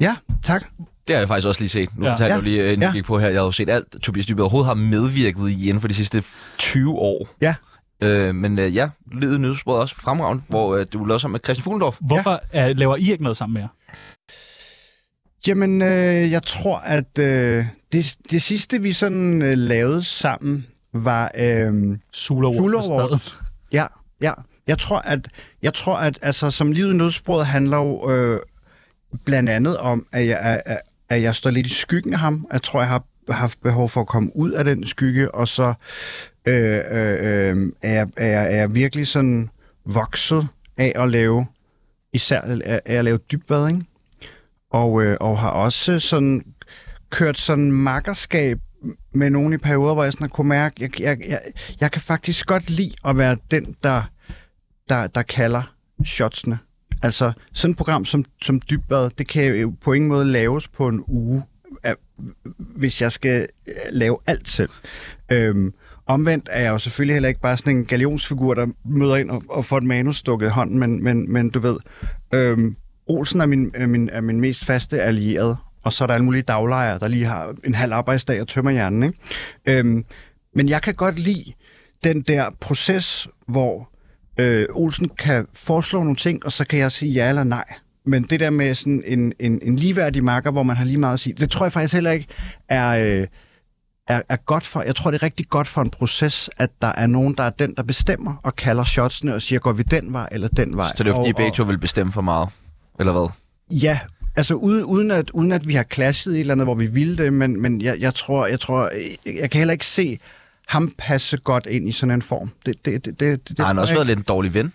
[SPEAKER 3] Ja, tak.
[SPEAKER 1] Det har jeg faktisk også lige set. Nu
[SPEAKER 4] Ja.
[SPEAKER 1] ja. fortalte
[SPEAKER 3] Ja.
[SPEAKER 1] jeg jo lige, inden ja.
[SPEAKER 3] Ja.
[SPEAKER 1] vi gik på her, jeg har jo set alt, Tobias Dybved overhovedet har medvirket i inden for de sidste 20 år.
[SPEAKER 3] Ja.
[SPEAKER 1] Øh, men øh, ja, lydet nyhedsbrød også fremragende, hvor øh, du lavede sammen med Christian Fuglendorf.
[SPEAKER 4] Hvorfor ja. øh, laver I ikke noget sammen med jer?
[SPEAKER 3] Jamen, øh, jeg tror, at øh, det, det sidste, vi sådan øh, lavede sammen, var... Øh,
[SPEAKER 4] Zulu Award.
[SPEAKER 3] Zulu
[SPEAKER 4] og sådan noget.
[SPEAKER 3] ja, ja. Jeg tror, at, jeg tror, at altså, som livet i nødsporet handler jo øh, blandt andet om, at jeg, at- at, at jeg står lidt i skyggen af ham. Jeg tror, jeg har haft behov for at komme ud af den skygge, og så øh, øh, øh, er, jeg, er, jeg, er jeg virkelig sådan vokset af at lave, især af af at lave dybvadring og, øh, og har også sådan kørt sådan makkerskab med nogen i perioder, hvor jeg sådan har kunne mærke, jeg, jeg, jeg, jeg kan faktisk godt lide at være den, der, der, der kalder shotsene. Altså sådan et program som, som Dybvad, det kan jo på ingen måde laves på en uge, af- hvis jeg skal øh, lave alt selv. Øhm, omvendt er jeg jo selvfølgelig heller ikke bare sådan en galionsfigur, der møder ind og, og får et manus stukket i hånden, men, men, men du ved, øhm, Olsen er min, er, min, er min mest faste allierede, og så er der alle mulige daglejere, der lige har en halv arbejdsdag og tømmer hjernen. Ikke? Øhm, men jeg kan godt lide den der proces, hvor øh, Olsen kan foreslå nogle ting, og så kan jeg sige ja eller nej. Men det der med sådan en, en, en ligeværdig marker, hvor man har lige meget at sige, det tror jeg faktisk heller ikke er... Øh, er, er godt for, jeg tror, det er rigtig godt for en proces, at der er nogen, der er den, der bestemmer og kalder shotsene og siger, går vi den vej eller den vej.
[SPEAKER 1] Så det er jo fordi,
[SPEAKER 3] og, og-
[SPEAKER 1] Beto vil bestemme for meget, eller hvad?
[SPEAKER 3] Ja, altså ude, uden, at, uden at vi har clashet i et eller andet, hvor vi ville det, men, men jeg, jeg tror, jeg, tror jeg, jeg kan heller ikke se ham passe godt ind i sådan en form. Det, det, det, det, det
[SPEAKER 1] Har han
[SPEAKER 3] tror
[SPEAKER 1] også
[SPEAKER 3] jeg
[SPEAKER 1] været lidt en dårlig ven?
[SPEAKER 3] ikke.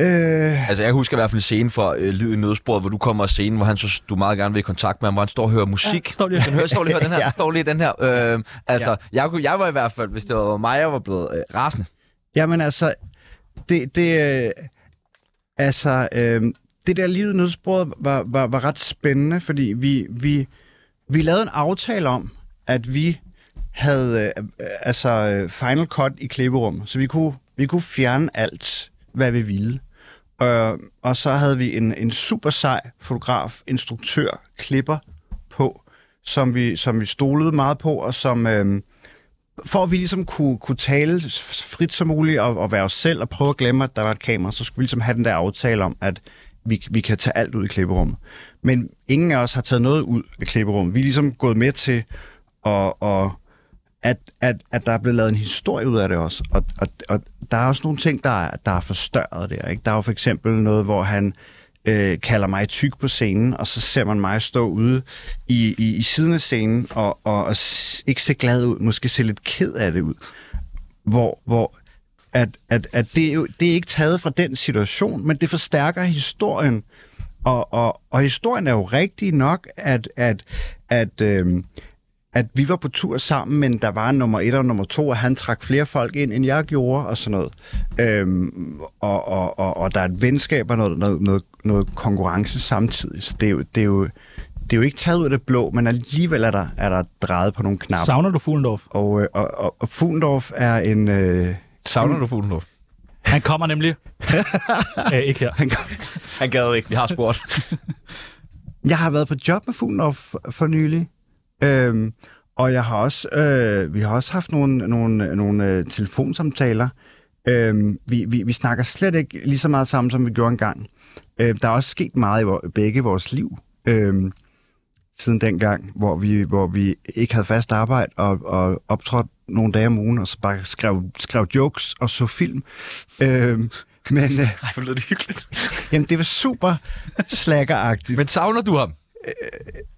[SPEAKER 3] Øh,
[SPEAKER 1] Altså, jeg husker i hvert fald scenen fra øh, Livet i nødsporet, hvor du kommer og scenen, hvor han synes, du meget gerne vil i kontakt med ham, hvor han står og hører musik.
[SPEAKER 4] Ja, står lige-
[SPEAKER 1] han hører, står lige og hører den her,
[SPEAKER 3] Ja.
[SPEAKER 1] står lige den her. Øh, altså, jeg, kunne, jeg var i hvert fald, hvis det var mig, jeg var blevet øh, rasende.
[SPEAKER 3] Jamen altså, det, det øh, altså, øh, det der livet i nødsbordet var, var, var ret spændende, fordi vi, vi, vi lavede en aftale om, at vi havde øh, øh, altså øh, final cut i klipperum, så vi kunne, vi kunne fjerne alt, hvad vi ville. Øh, og så havde vi en, en super sej fotograf, instruktør, klipper på, som vi, som vi stolede meget på, og som... Øh, for at vi ligesom kunne, kunne tale s- frit som muligt og, og være os selv og prøve at glemme, at der var et kamera, så skulle vi ligesom have den der aftale om, at vi, vi kan tage alt ud i klipperummet. Men ingen af os har taget noget ud af klipperummet. Vi er ligesom gået med til, og, og at, at, at der er blevet lavet en historie ud af det også. Og, og, og der er også nogle ting, der er, der er forstørret der. Ikke? Der er jo for eksempel noget, hvor han øh, kalder mig tyk på scenen, og så ser man mig stå ude i, i, i siden af scenen og, og, og s- ikke se glad ud, måske se lidt ked af det ud. Hvor, hvor at, at, at det, er jo, det er ikke taget fra den situation, men det forstærker historien. Og, og, og historien er jo rigtig nok, at, at, at, øhm, at vi var på tur sammen, men der var en nummer et og nummer to, og han trak flere folk ind, end jeg gjorde, og sådan noget. Øhm, og, og, og, og der er et venskab og noget, noget, noget, noget konkurrence samtidig, så det er, jo, det, er jo, det er jo ikke taget ud af det blå, men alligevel er der, er der drejet på nogle knapper.
[SPEAKER 4] Savner du Fuglendorf?
[SPEAKER 3] Og, øh, og, og, og Fuglendorf er en... Øh,
[SPEAKER 1] Savner du Fuglendorf?
[SPEAKER 4] Han kommer nemlig. Æ, ikke her.
[SPEAKER 3] [LAUGHS] han,
[SPEAKER 1] Han gad ikke, vi har spurgt.
[SPEAKER 3] Jeg har været på job med Fuglendorf for, for nylig, øhm, og jeg har også, øh, vi har også haft nogle, nogle, nogle øh, telefonsamtaler. Øhm, vi, vi, vi snakker slet ikke lige så meget sammen, som vi gjorde engang. Øh, der er også sket meget i vor, begge vores liv øhm, siden dengang, hvor vi, hvor vi ikke havde fast arbejde og, og optrådte nogle dage om ugen, og så bare skrev, skrev jokes og så film. Øhm, men øh,
[SPEAKER 1] Ej, hvor lød det hyggeligt.
[SPEAKER 3] jamen, det var super slaggeragtigt.
[SPEAKER 1] Men savner du ham?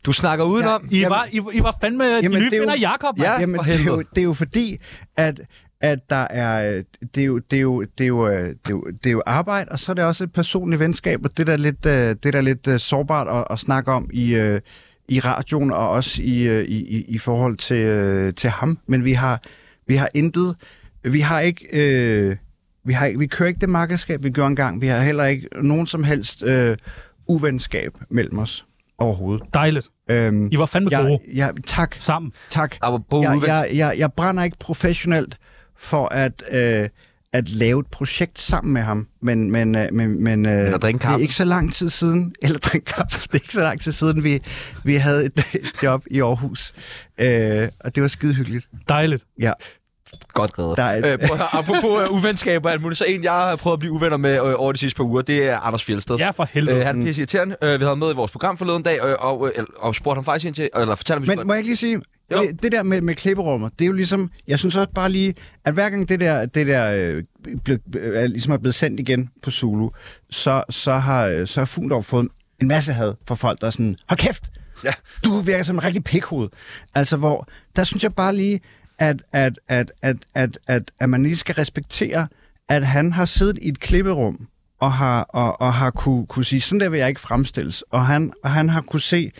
[SPEAKER 1] Du snakker udenom.
[SPEAKER 4] I,
[SPEAKER 3] Jamen-
[SPEAKER 4] var, I, I var fandme
[SPEAKER 3] Jamen,
[SPEAKER 4] Jamen,
[SPEAKER 3] det
[SPEAKER 4] nye
[SPEAKER 3] er jo-
[SPEAKER 4] finder Jakob.
[SPEAKER 1] Ja.
[SPEAKER 4] Ja.
[SPEAKER 3] Jamen,
[SPEAKER 1] for
[SPEAKER 3] det er, jo,
[SPEAKER 1] helvede.
[SPEAKER 3] det er jo fordi, at, at der er, øh, det er, jo, det, er jo, det, er jo, øh, det, er jo, det er jo arbejde, og så er det også et personligt venskab, og det er da lidt, øh, det er da lidt øh, sårbart at, at snakke om i, øh, i radioen, og også i, øh, i, i- i forhold til, øh, til ham. Men vi har, vi har intet, vi har ikke... Øh, vi, har, ikke- vi kører ikke det markedskab, vi gjorde engang. Vi har heller ikke nogen som helst øh, uvenskab mellem os overhovedet.
[SPEAKER 4] Dejligt.
[SPEAKER 3] Øhm,
[SPEAKER 4] I var fandme
[SPEAKER 3] jeg,
[SPEAKER 4] gode
[SPEAKER 3] jeg, tak.
[SPEAKER 4] sammen.
[SPEAKER 3] Tak.
[SPEAKER 1] Apropos
[SPEAKER 3] Jeg,
[SPEAKER 1] udvendigt.
[SPEAKER 3] jeg, jeg, jeg brænder ikke professionelt for at, øh, at lave et projekt sammen med ham, men, men, øh, men, men øh,
[SPEAKER 1] Eller drikke
[SPEAKER 3] det er
[SPEAKER 1] kaffe.
[SPEAKER 3] ikke så lang tid siden, [LAUGHS] eller drikke kaffe, det er ikke så lang tid siden, vi, vi havde et, [LAUGHS] et job i Aarhus, øh, og det var skide hyggeligt.
[SPEAKER 4] Dejligt.
[SPEAKER 3] Ja.
[SPEAKER 1] Godt reddet.
[SPEAKER 3] Der er et-
[SPEAKER 1] Øh, prøv, at høre, apropos øh, uvenskaber og alt muligt, så en, jeg har prøvet at blive uvenner med øh, over de sidste par uger, det er Anders Fjeldsted.
[SPEAKER 4] Ja, for helvede.
[SPEAKER 1] Øh, han er pisse irriterende. Øh, vi havde ham med i vores program forleden dag, øh, og, øh, og spurgte ham faktisk ind til, eller fortalte ham, vi skulle-
[SPEAKER 3] Men må jeg ikke lige sige, øh,
[SPEAKER 1] Jo.
[SPEAKER 3] det, det der med, med klipperummer, det er jo ligesom, jeg synes også bare lige, at hver gang det der, det der øh, ble, øh, er ligesom er blevet sendt igen på Zulu, så, så har, øh, så har Fuglendorf fået en masse had fra folk, der er sådan, hold kæft,
[SPEAKER 1] Ja.
[SPEAKER 3] du virker som en rigtig pikhoved. Altså hvor, der synes jeg bare lige, at, at, at, at, at, at, at man lige skal respektere, at han har siddet i et klipperum, og har, og, og har kunne, kunne sige, sådan der vil jeg ikke fremstilles. Og han, og han har kunne se,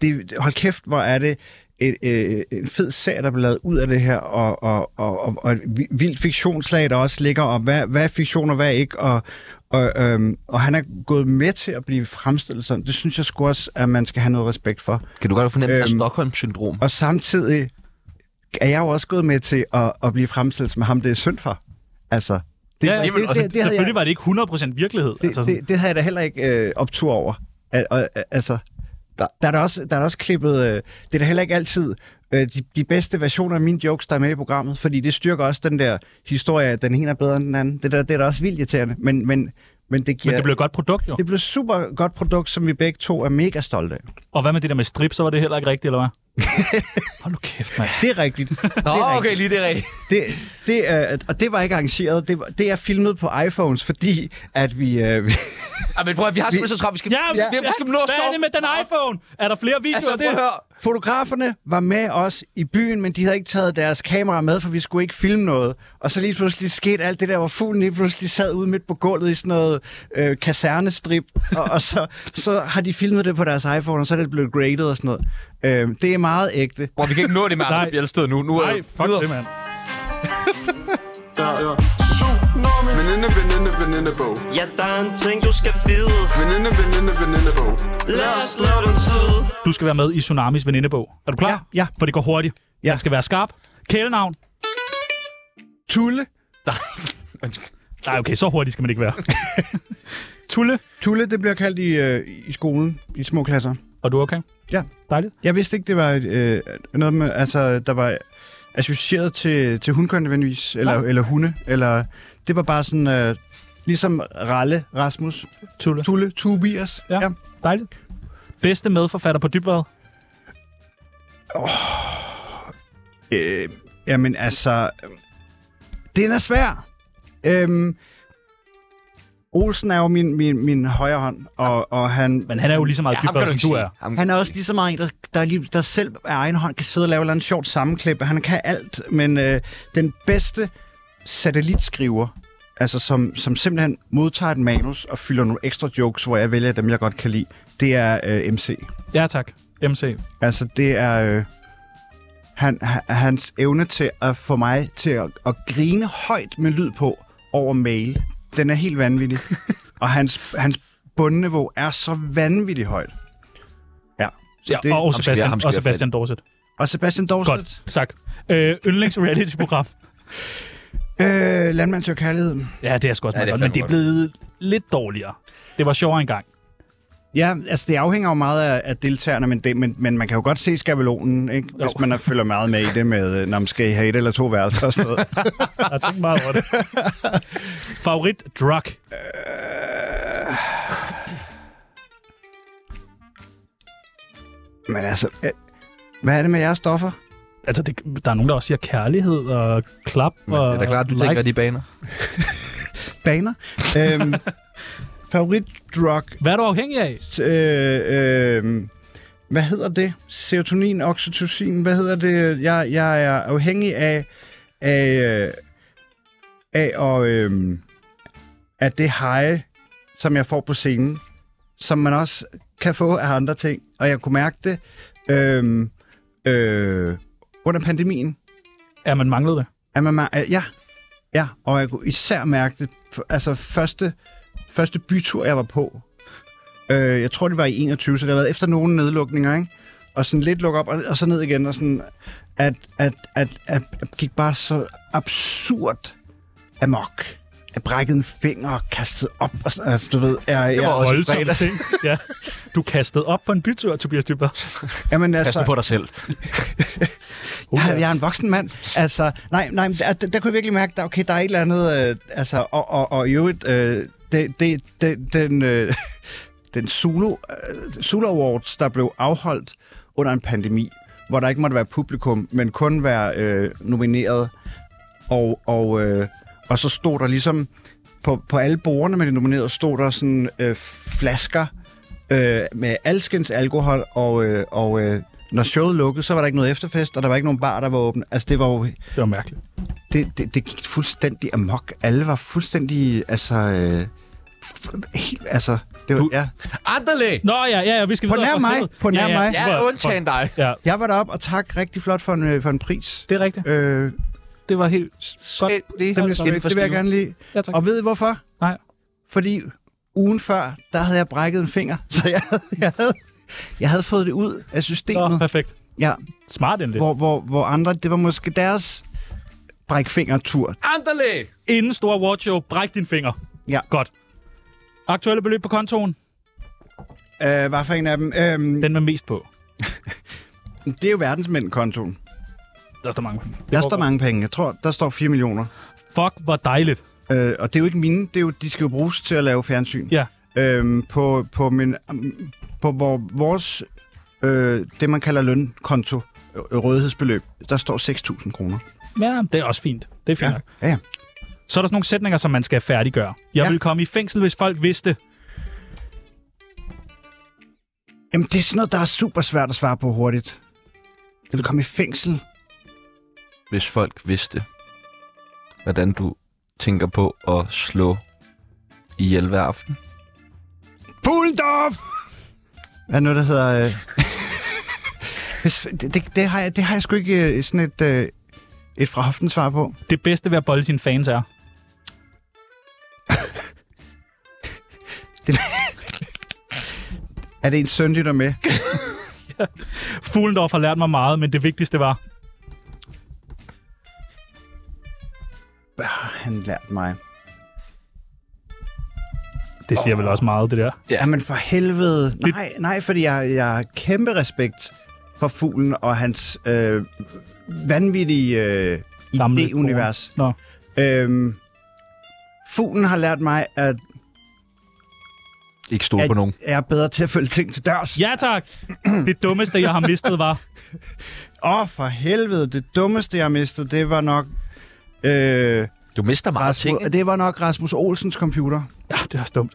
[SPEAKER 3] det, hold kæft, hvor er det et, øh, en fed serie, der blev lavet ud af det her, og, og, og, og, og et vi- vildt fiktionslag, der også ligger, og hvad, hvad er fiktion og hvad er ikke, og, og, øhm, og han er gået med til at blive fremstillet sådan. Det synes jeg sgu også, at man skal have noget respekt for.
[SPEAKER 1] Kan du godt fornemme øhm,
[SPEAKER 3] Øhm,
[SPEAKER 1] Stockholm-syndrom?
[SPEAKER 3] Og samtidig er jeg jo også gået med til at, at blive fremstillet som ham, det er synd for. Altså, det,
[SPEAKER 4] Ja,
[SPEAKER 3] det,
[SPEAKER 1] jamen,
[SPEAKER 3] det,
[SPEAKER 1] og
[SPEAKER 3] det, det, havde
[SPEAKER 4] Selvfølgelig
[SPEAKER 3] jeg,
[SPEAKER 4] var det ikke 100% virkelighed.
[SPEAKER 3] det, det, det havde jeg da heller ikke øh, optur over. Al, og, altså,
[SPEAKER 1] Der-
[SPEAKER 3] Der, der, er da også, der er da også klippet... Øh, det er da heller ikke altid øh, de, de bedste versioner af mine jokes, der er med i programmet, fordi det styrker også den der historie, at den ene er bedre end den anden. Det, der, det er da også vildt irriterende, men, men, men det giver...
[SPEAKER 4] Men det blev et godt produkt, jo.
[SPEAKER 3] det blev et super godt produkt, som vi begge to er mega stolte af.
[SPEAKER 4] Og hvad med det der med strip, så var det heller ikke rigtigt,
[SPEAKER 1] [LAUGHS]
[SPEAKER 4] eller hvad? Hold nu kæft, mand.
[SPEAKER 3] Det er rigtigt.
[SPEAKER 1] Nå,
[SPEAKER 3] det er rigtigt.
[SPEAKER 1] okay, lige det er rigtigt.
[SPEAKER 3] Det, det, øh, og det var ikke arrangeret. Det, var, det er filmet på iPhones, fordi at vi... Øh, vi
[SPEAKER 1] Ej, Ah, men prøv at, vi har simpelthen så travlt. Vi skal,
[SPEAKER 4] Ja,
[SPEAKER 1] vi, vi, vi skal nå at
[SPEAKER 4] hvad er
[SPEAKER 1] sove.
[SPEAKER 4] det med den iPhone? Er der flere videoer
[SPEAKER 1] Altså,
[SPEAKER 4] af
[SPEAKER 1] prøv
[SPEAKER 4] det?
[SPEAKER 1] at høre.
[SPEAKER 3] fotograferne var med os i byen, men de havde ikke taget deres kamera med, for vi skulle ikke filme noget. Og så lige pludselig skete alt det der, hvor fuglen lige pludselig sad ude midt på gulvet i sådan noget øh, kasernestrip. Og, og så, så har de filmet det på deres iPhone, og så er det blevet graded og sådan noget. Øh, det er meget ægte.
[SPEAKER 1] Bro, vi kan ikke nå det med Anders
[SPEAKER 4] Nej.
[SPEAKER 1] Fjeldsted nu. nu er
[SPEAKER 4] Nej, fuck
[SPEAKER 1] videre.
[SPEAKER 4] det, mand.
[SPEAKER 7] Der er tsunami Veninde, veninde, venindebog
[SPEAKER 6] Ja, der er en ting, du skal vide.
[SPEAKER 7] Veninde, veninde, venindebog
[SPEAKER 6] Lad os lave den tid.
[SPEAKER 4] Du skal være med i Tsunamis venindebog. Er du klar?
[SPEAKER 3] Ja, ja.
[SPEAKER 4] For det går hurtigt.
[SPEAKER 3] Ja.
[SPEAKER 4] Jeg skal være skarp. Kælenavn.
[SPEAKER 3] Tulle.
[SPEAKER 4] Nej, okay, så hurtigt skal man ikke være. Tulle.
[SPEAKER 3] Tulle, det bliver kaldt i, øh, i skolen, i små klasser.
[SPEAKER 4] Og du er okay?
[SPEAKER 3] Ja.
[SPEAKER 4] Dejligt.
[SPEAKER 3] Jeg vidste ikke, det var øh, noget med, altså, der var associeret til, til hundkøn nødvendigvis, eller,
[SPEAKER 4] Nej.
[SPEAKER 3] eller hunde, eller det var bare sådan, øh, ligesom Ralle, Rasmus,
[SPEAKER 4] Tulle.
[SPEAKER 3] Tulle, Tobias.
[SPEAKER 4] Ja. Dejligt. Bedste medforfatter på Dybvad.
[SPEAKER 3] Øh, jamen altså, øh, den er svær. Øhm, Olsen er jo min, min, min højre hånd, og, og han,
[SPEAKER 4] Men han er jo lige så meget
[SPEAKER 1] Ja, ham kan
[SPEAKER 4] Dybvad,
[SPEAKER 1] du
[SPEAKER 4] som
[SPEAKER 1] ikke sige.
[SPEAKER 4] du er.
[SPEAKER 1] Ham
[SPEAKER 3] Mm. Han er også lige så meget en, der, der, lige, der selv af egen hånd kan sidde og lave et eller andet sjovt sammenklip. Han kan alt, men øh, den bedste satellitskriver, altså som, som simpelthen modtager et manus og fylder nogle ekstra jokes, hvor jeg vælger dem, jeg godt kan lide, det er øh, MC.
[SPEAKER 4] Ja, tak. MC.
[SPEAKER 3] Altså, det er øh, han, han, hans evne til at få mig til at, at grine højt med lyd på over mail. Den er helt
[SPEAKER 4] [LAUGHS]
[SPEAKER 3] vanvittig. og hans, hans bundniveau er så vanvittigt højt. Ja. Så
[SPEAKER 4] Ja, og
[SPEAKER 1] skal
[SPEAKER 4] Sebastian,
[SPEAKER 1] jeg- ham skal
[SPEAKER 4] og
[SPEAKER 1] jeg
[SPEAKER 4] Sebastian Dorset.
[SPEAKER 3] Og Sebastian Dorset.
[SPEAKER 4] Godt, tak. Øh, yndlings reality-program.
[SPEAKER 3] Øh, landmand søger kærlighed.
[SPEAKER 4] Ja, det er sgu også
[SPEAKER 1] Ja,
[SPEAKER 4] meget
[SPEAKER 1] det er
[SPEAKER 4] godt, men
[SPEAKER 1] fandme
[SPEAKER 4] det er blevet lidt dårligere. Det var sjovere engang.
[SPEAKER 3] Ja, altså det afhænger jo meget af, af deltagerne, men, det, men, men man kan jo godt se skabelonen, ikke? hvis
[SPEAKER 4] Jo.
[SPEAKER 3] man er, følger meget med i det med, øh, når man skal I have et eller to værelser og sådan
[SPEAKER 4] [LAUGHS]
[SPEAKER 3] noget.
[SPEAKER 4] Jeg har tænkt meget over det. Favorit drug.
[SPEAKER 3] Øh. Men altså, øh, hvad er det med jeres stoffer?
[SPEAKER 4] Altså, det, der er nogen, der også siger kærlighed og klap
[SPEAKER 1] Men
[SPEAKER 4] og
[SPEAKER 1] det er da klart, du
[SPEAKER 4] likes.
[SPEAKER 1] tænker de baner.
[SPEAKER 3] Baner?
[SPEAKER 4] [LAUGHS]
[SPEAKER 3] øhm, favoritdrug?
[SPEAKER 4] Hvad er du afhængig af?
[SPEAKER 3] Øh, øh, hvad hedder det? Serotonin, oxytocin, hvad hedder det? Jeg, jeg er afhængig af, af, øh, af og, øh, af det high, som jeg får på scenen, som man også kan få af andre ting. Og jeg kunne mærke det øh, øh, under pandemien.
[SPEAKER 4] Ja, man manglede det.
[SPEAKER 3] At man, mær- at- ja, ja, og jeg kunne især mærke det, f- altså første, første bytur, jeg var på, øh, jeg tror, det var i 21, så det har været efter nogle nedlukninger, ikke? Og sådan lidt lukke op, og, og så ned igen, og sådan, at, at, at, at, at gik bare så absurd amok. Jeg brækkede en finger og kastede op, og sådan, altså, du ved, jeg, jeg,
[SPEAKER 1] var også- i
[SPEAKER 4] Voldsomme
[SPEAKER 1] fredags.
[SPEAKER 4] ting. Ja. Du kastede op på en bytur, Tobias Dybvad.
[SPEAKER 3] jamen,
[SPEAKER 1] Pas
[SPEAKER 3] altså,
[SPEAKER 1] nu på dig selv.
[SPEAKER 4] Uha.
[SPEAKER 3] Jeg, jeg er en voksen mand. Altså, nej, nej, men der, der, der kunne jeg virkelig mærke, der, okay, der er et eller andet, øh, altså, og, og, og i øvrigt, øh, det, det, det, den, øh, [LAUGHS] den Zulu, øh, Zulu Awards, der blev afholdt under en pandemi, hvor der ikke måtte være publikum, men kun være øh, nomineret, og, og, øh, og så stod der ligesom, på, på alle bordene med de nominerede, stod der sådan øh, flasker øh, med alskens alkohol, og, øh, og øh, når showet lukkede, så var der ikke noget efterfest, og der var ikke nogen bar, der var åben. Altså, det var jo...
[SPEAKER 4] Det var mærkeligt.
[SPEAKER 3] Det, det, det gik fuldstændig amok. Alle var fuldstændig, altså... Øh, f- helt, altså, det var,
[SPEAKER 4] Du-
[SPEAKER 3] ja.
[SPEAKER 1] Anderle!
[SPEAKER 4] Nå ja, ja, ja, vi skal
[SPEAKER 3] På
[SPEAKER 4] videre.
[SPEAKER 3] nær
[SPEAKER 4] for
[SPEAKER 3] mig,
[SPEAKER 4] helvede.
[SPEAKER 3] på nær
[SPEAKER 4] ja, ja,
[SPEAKER 3] mig.
[SPEAKER 1] Ja,
[SPEAKER 4] for- for-
[SPEAKER 1] undtagen dig.
[SPEAKER 4] Ja,
[SPEAKER 3] Jeg var deroppe, og tak rigtig flot for en, øh, for en pris.
[SPEAKER 4] det er rigtigt.
[SPEAKER 3] Øh,
[SPEAKER 4] Det var helt godt.
[SPEAKER 1] Det, det,
[SPEAKER 3] det, det, det vil jeg gerne lide.
[SPEAKER 4] Ja, tak.
[SPEAKER 3] Og ved I hvorfor?
[SPEAKER 4] Nej.
[SPEAKER 3] Fordi ugen før, der havde jeg brækket en finger, [LAUGHS] så jeg havde, jeg havde, jeg havde fået det ud af systemet.
[SPEAKER 4] Nå, perfekt.
[SPEAKER 3] Ja,
[SPEAKER 4] Smart endelig.
[SPEAKER 3] hvor, hvor, hvor andre, det var måske deres brækfingertur.
[SPEAKER 1] Anderle!
[SPEAKER 4] Inden store awardshow, bræk din finger.
[SPEAKER 3] Ja.
[SPEAKER 4] Godt. Aktuelle beløb på kontoen?
[SPEAKER 3] Øh, hvad for en af dem? Øhm,
[SPEAKER 4] Den med mest på.
[SPEAKER 3] det er jo verdensmænd-kontoen.
[SPEAKER 4] Der står mange. Det
[SPEAKER 3] Der
[SPEAKER 4] går
[SPEAKER 3] står
[SPEAKER 4] godt.
[SPEAKER 3] mange penge. Jeg tror, der står 4 millioner.
[SPEAKER 4] Fuck, hvor dejligt.
[SPEAKER 3] Øh, og det er jo ikke mine. Det er jo, de skal jo bruges til at lave fjernsyn.
[SPEAKER 4] Ja.
[SPEAKER 3] Øhm, på, på, min, mm, på vor, vores, øh, det man kalder lønkonto, øh, rådighedsbeløb, der står 6.000 kroner.
[SPEAKER 4] Ja, det er også fint. Det er fint ja. nok.
[SPEAKER 3] ja, ja.
[SPEAKER 4] Så er der sådan nogle sætninger, som man skal færdiggøre. Jeg ja.
[SPEAKER 3] Ja.
[SPEAKER 4] ville komme i fængsel, hvis folk vidste.
[SPEAKER 3] Jamen, det er sådan noget, der er super svært at svare på hurtigt. Vil du komme i fængsel?
[SPEAKER 1] Hvis folk vidste, hvordan du tænker på at slå ihjel hver aften.
[SPEAKER 3] Bulldorf! Hvad er noget, der hedder... Øh... Hvis, det, det, det, har jeg, det har jeg sgu ikke øh, sådan et, øh, et fra hoften svar på.
[SPEAKER 4] Det bedste ved at bolde sine fans er.
[SPEAKER 3] Er det en søn, der med?
[SPEAKER 4] Fuglendorf har lært mig meget, men det vigtigste var...
[SPEAKER 3] Hvad har han lært mig?
[SPEAKER 4] Det siger oh. vel også meget, det der.
[SPEAKER 3] Ja. Jamen for helvede. Nej, nej fordi jeg, jeg har kæmpe respekt for fuglen og hans øh, vanvittige øh,
[SPEAKER 4] Gamle
[SPEAKER 3] idéunivers.
[SPEAKER 4] Nå.
[SPEAKER 3] Øhm, fuglen har lært mig, at
[SPEAKER 1] Ikke stole
[SPEAKER 3] at
[SPEAKER 1] på nogen.
[SPEAKER 3] jeg er bedre til at følge ting til dørs. Åh,
[SPEAKER 4] Ja tak! Det dummeste, jeg har mistet, [LAUGHS] var...
[SPEAKER 3] ja. oh, for helvede. Det dummeste, jeg mistede, det var nok... Øh,
[SPEAKER 1] Du mister meget ting.
[SPEAKER 3] Rasmus, det var nok Rasmus Olsens computer.
[SPEAKER 4] Ja, det er også dumt.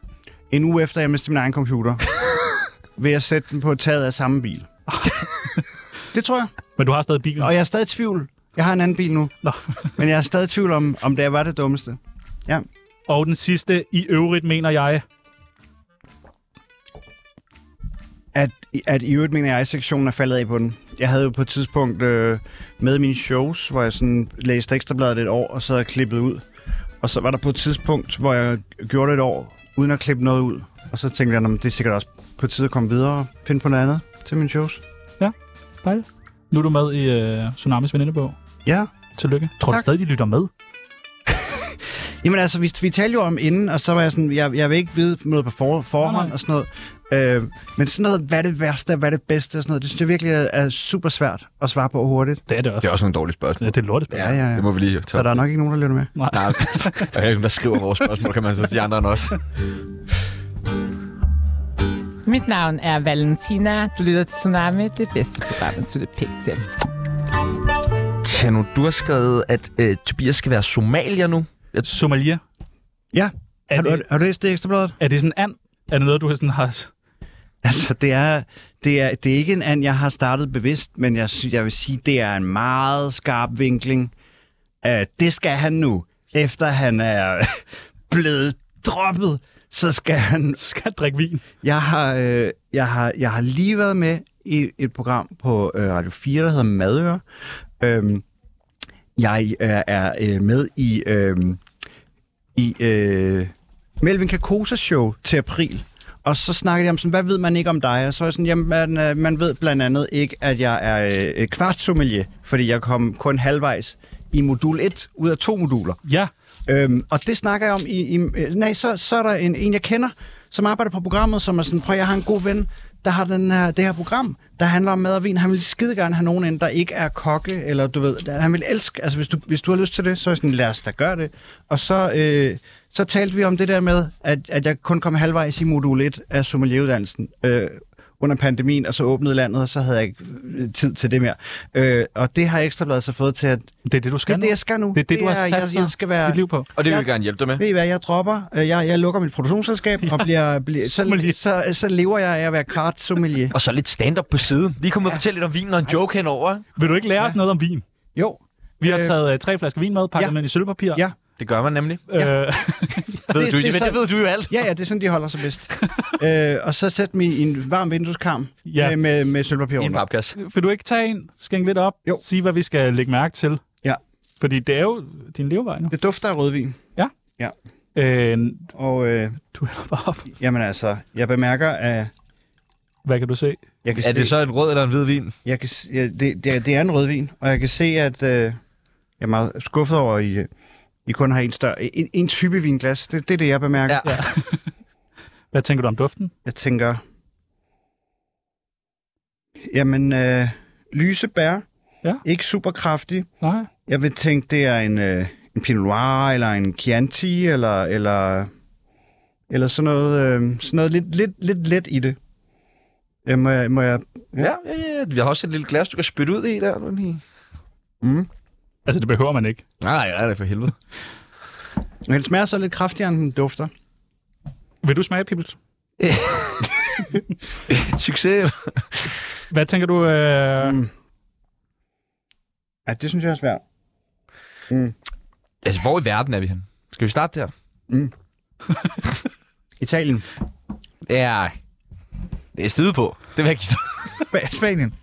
[SPEAKER 3] En uge efter, jeg mistede min egen computer. ved at sætte den på taget af samme bil. det tror jeg.
[SPEAKER 4] Men du har stadig bilen.
[SPEAKER 3] Og jeg er stadig i tvivl. Jeg har en anden bil nu.
[SPEAKER 4] Nå.
[SPEAKER 3] Men jeg er stadig i tvivl om, om det var det dummeste. Ja.
[SPEAKER 4] Og den sidste, i øvrigt mener jeg...
[SPEAKER 3] At, at i øvrigt mener jeg, at sektionen er faldet af på den. Jeg havde jo på et tidspunkt øh, med mine shows, hvor jeg sådan læste ekstrabladet et år, og så havde jeg klippet ud. Og så var der på et tidspunkt, hvor jeg gjorde det et år, uden at klippe noget ud. Og så tænkte jeg, at det er sikkert også på tide at komme videre og finde på noget andet til mine shows.
[SPEAKER 4] Dejligt. Nu er du med i øh, Tsunamis venindebog.
[SPEAKER 3] Ja.
[SPEAKER 4] Tillykke. Tror du
[SPEAKER 3] Tak.
[SPEAKER 4] stadig, de lytter med?
[SPEAKER 3] Jamen altså, vi, vi talte jo om inden, og så var jeg sådan, jeg, jeg vil ikke vide noget på for, forhånd
[SPEAKER 4] Nej, nej.
[SPEAKER 3] og sådan noget. Øh, men sådan noget, hvad er det værste, hvad er det bedste og sådan noget, det synes jeg virkelig er, er super svært at svare på hurtigt.
[SPEAKER 4] Det er det
[SPEAKER 1] Det
[SPEAKER 4] også.
[SPEAKER 1] er også nogle dårlige
[SPEAKER 4] Ja,
[SPEAKER 1] spørgsmål.
[SPEAKER 4] det er lortet.
[SPEAKER 3] Ja, ja, ja.
[SPEAKER 1] Det må vi lige
[SPEAKER 3] Så
[SPEAKER 1] tage.
[SPEAKER 3] der er nok ikke nogen, der lytter med.
[SPEAKER 1] Nej, [LAUGHS] og der er nogen, der skriver vores spørgsmål, kan man så sige andre end os.
[SPEAKER 8] Mit navn er Valentina. Du lytter til Tsunami. Det bedste program, man synes pænt til.
[SPEAKER 1] Tjano, du har skrevet, at øh, Tobias skal være somalier nu. Jeg s-
[SPEAKER 4] Somalia.
[SPEAKER 3] Ja,
[SPEAKER 4] Er
[SPEAKER 3] har du,
[SPEAKER 4] det,
[SPEAKER 3] har du læst det i ekstrabladet?
[SPEAKER 4] er det sådan and? Er det noget, du sådan har...
[SPEAKER 3] [LAUGHS]
[SPEAKER 4] [LAUGHS]
[SPEAKER 3] Altså, det er, det, er, det er ikke en and, jeg har startet bevidst, men jeg, sy- jeg vil sige, det er en meget skarp vinkling. Uh, det skal han nu. Efter han er [LAUGHS] blevet droppet, så skal han
[SPEAKER 4] Skal drikke vin?
[SPEAKER 3] Jeg har, øh, jeg, har, jeg har lige været med i et program på øh, Radio 4, der hedder Madøre. Øhm, jeg øh, er øh, med i, øh, i øh, Melvin Kakosa show til april. Og så snakkede jeg om, sådan, hvad ved man ikke om dig? Og så er jeg sådan, jamen, man, øh, man ved blandt andet ikke, at jeg er øh, kvartsommelier, fordi jeg kom kun halvvejs i modul 1 ud af to moduler.
[SPEAKER 4] Ja.
[SPEAKER 3] Øhm, og det snakker jeg om i... i øh, nej, så, så er der en, en, jeg kender, som arbejder på programmet, som er sådan, prøv jeg har en god ven, der har den her, det her program, der handler om mad og vin. Han vil skide gerne have nogen ind, der ikke er kokke, eller du ved, der- han vil elske... Altså, hvis du, hvis du har lyst til det, så er jeg sådan, lad os da gøre det. Og så, øh, så talte vi om det der med, at, at jeg kun kom halvvejs i modul 1 af sommelieruddannelsen. Øh, under pandemien, og så åbnede landet, og så havde jeg ikke øh, tid til det mere. Øh, og det har Ekstrabladet så fået til, at
[SPEAKER 4] Det er det, du skal
[SPEAKER 3] det er det, jeg skal nu.
[SPEAKER 4] Det er det, du har
[SPEAKER 3] er,
[SPEAKER 4] sat
[SPEAKER 3] jeg, jeg skal være
[SPEAKER 4] dit liv på.
[SPEAKER 1] Og det vil vi
[SPEAKER 3] Jeg-
[SPEAKER 1] gerne hjælpe dig med.
[SPEAKER 3] ved I hvad, jeg dropper. Øh, Jeg, jeg lukker mit produktionsselskab, ja. og bliver, bliver
[SPEAKER 4] Sommelier.
[SPEAKER 3] så, så, så, lever jeg af at være kart sommelier.
[SPEAKER 1] Og så lidt stand-up på siden. Lige kommet og fortælle lidt om vinen og en joke henover. ikke?
[SPEAKER 4] Vil du ikke lære os noget om vin?
[SPEAKER 3] Jo,
[SPEAKER 4] Vi har
[SPEAKER 3] Øh,
[SPEAKER 4] taget øh, tre flasker vin med, pakket
[SPEAKER 3] ja.
[SPEAKER 4] dem ind i sølvpapir.
[SPEAKER 3] ja.
[SPEAKER 1] Det gør man nemlig.
[SPEAKER 4] Øh, [LAUGHS]
[SPEAKER 1] Ved
[SPEAKER 3] Det-
[SPEAKER 1] du,
[SPEAKER 3] det
[SPEAKER 1] det,
[SPEAKER 3] er
[SPEAKER 1] det,
[SPEAKER 3] så-
[SPEAKER 1] det ved du jo alt.
[SPEAKER 3] Ja, ja, det er sådan, de holder sig bedst. [LAUGHS] øh, og så sæt mig i en varm vindueskarm
[SPEAKER 4] Ja.
[SPEAKER 3] ja. med, med, med sølvpapir
[SPEAKER 1] I en
[SPEAKER 3] under.
[SPEAKER 1] papkasse.
[SPEAKER 4] vil du ikke tage en, skænke lidt op,
[SPEAKER 3] Jo.
[SPEAKER 4] sige, hvad vi skal lægge mærke til?
[SPEAKER 3] Ja.
[SPEAKER 4] Fordi det er jo din levevej nu.
[SPEAKER 3] Det dufter af rødvin,
[SPEAKER 4] Øh,
[SPEAKER 3] og øh,
[SPEAKER 4] du hælder bare op.
[SPEAKER 3] jamen altså, jeg bemærker, at
[SPEAKER 4] Hvad kan du se?
[SPEAKER 3] jeg kan
[SPEAKER 1] Er
[SPEAKER 3] se,
[SPEAKER 1] det så en rød eller en hvid vin?
[SPEAKER 3] jeg kan, se- ja, det, det, er- det er en rødvin, og jeg kan se, at øh, jeg er meget skuffet over, at I, øh, I kun har en, større, en, en type vinglas. Det, det er det, jeg bemærker.
[SPEAKER 1] Ja.
[SPEAKER 4] Hvad tænker du om duften?
[SPEAKER 3] Jeg tænker, Jamen, øh, lyse bær.
[SPEAKER 4] Ja.
[SPEAKER 3] Ikke super kraftig.
[SPEAKER 4] Nej.
[SPEAKER 3] Jeg vil tænke, det er en, øh, en Pinot Noir, eller en Chianti, eller, eller, eller sådan noget, øh, sådan noget lidt, lidt, lidt let i det. Øh, må jeg, må jeg,
[SPEAKER 1] Ja, ja, ja. Vi har også et lille glas, du kan spytte ud i der. Nu lige.
[SPEAKER 4] Altså, det behøver man ikke.
[SPEAKER 1] Nej, nej, nej, for helvede.
[SPEAKER 3] den smager så lidt kraftigere, end den dufter.
[SPEAKER 4] Vil du smage, Pibels?
[SPEAKER 1] Succes.
[SPEAKER 4] Hvad tænker du? Øh... Mm.
[SPEAKER 3] Ja, det synes jeg er svært.
[SPEAKER 1] Altså, hvor i verden er vi hen? Skal vi starte der?
[SPEAKER 3] Italien.
[SPEAKER 1] Ja, det er styde på. Det vil jeg
[SPEAKER 4] [LAUGHS]
[SPEAKER 1] give dig.
[SPEAKER 3] Sp- Spanien.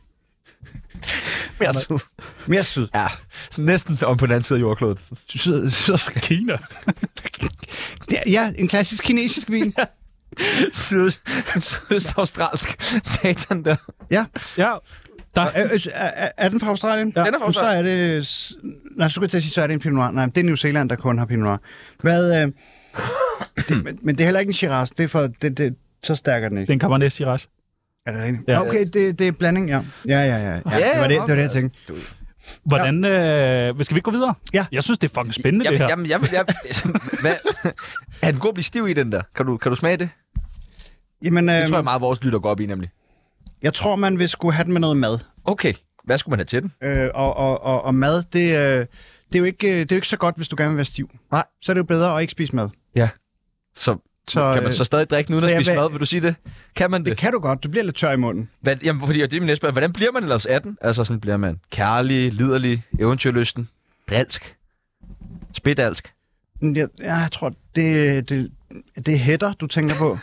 [SPEAKER 1] Mere syd.
[SPEAKER 3] Mere syd.
[SPEAKER 1] Ja, så næsten om på den anden side af jordkloden.
[SPEAKER 3] syd, Sydafrika.
[SPEAKER 4] Kina.
[SPEAKER 3] Det er- [LAUGHS] Ja, en klassisk kinesisk [LAUGHS] vin.
[SPEAKER 1] Syd, sydøstaustralsk satan der.
[SPEAKER 3] ja.
[SPEAKER 4] ja, der...
[SPEAKER 3] Er, Øh, er- er, er den fra Australien?
[SPEAKER 4] Ja. Den
[SPEAKER 1] er fra
[SPEAKER 3] Men Så er det... s- Nej, så skulle jeg til at sige, så er det en Pinot Noir. Nej, det er New Zealand, der kun har Pinot Noir. Hvad, [COUGHS] øh, det, men, men det er heller ikke en Shiraz. Det er for... Det, det, så stærker den
[SPEAKER 4] Det er
[SPEAKER 3] ikke.
[SPEAKER 4] en Cabernet Shiraz.
[SPEAKER 3] Er det rigtigt?
[SPEAKER 4] Ja.
[SPEAKER 3] Ja. Okay, det, det er blanding, ja. Ja, ja, ja. ja, ja det, var det, det var det, jeg tænkte.
[SPEAKER 4] Hvordan... Øh... Skal vi ikke gå videre?
[SPEAKER 3] Ja.
[SPEAKER 4] Jeg synes, det er fucking spændende, det her.
[SPEAKER 1] Jamen, jeg, jeg, hvad? Er den god at blive stiv i, den der? Kan du, kan du smage det?
[SPEAKER 4] Øhm.
[SPEAKER 3] Jamen, øh,
[SPEAKER 1] Det
[SPEAKER 3] jeg,
[SPEAKER 1] tror
[SPEAKER 3] tror,
[SPEAKER 1] jeg meget, vores lytter går op i, nemlig.
[SPEAKER 3] jeg tror, man vil skulle have den med noget mad.
[SPEAKER 1] Okay, hvad skulle man have til den?
[SPEAKER 3] Øh, og, og, og, og mad, det, øh, det, er jo ikke, øh, det er jo ikke så godt, hvis du gerne vil være stiv.
[SPEAKER 1] Nej.
[SPEAKER 3] Så er det jo bedre at ikke spise mad.
[SPEAKER 1] Så,
[SPEAKER 3] Så,
[SPEAKER 1] så kan man
[SPEAKER 3] øh,
[SPEAKER 1] så stadig drikke den uden
[SPEAKER 3] så
[SPEAKER 1] at
[SPEAKER 3] jeg
[SPEAKER 1] spise
[SPEAKER 3] vil-
[SPEAKER 1] mad? Vil du sige det? Kan man det?
[SPEAKER 3] Det kan du godt. Du bliver lidt tør i munden.
[SPEAKER 1] Hvad, jamen, fordi det er min næste spørgsmål. Hvordan bliver man ellers 18? Altså, sådan bliver man kærlig, liderlig, eventyrlysten, drilsk, spidalsk.
[SPEAKER 3] Men Jeg, ja, jeg tror, det, det, det er hætter, du tænker på.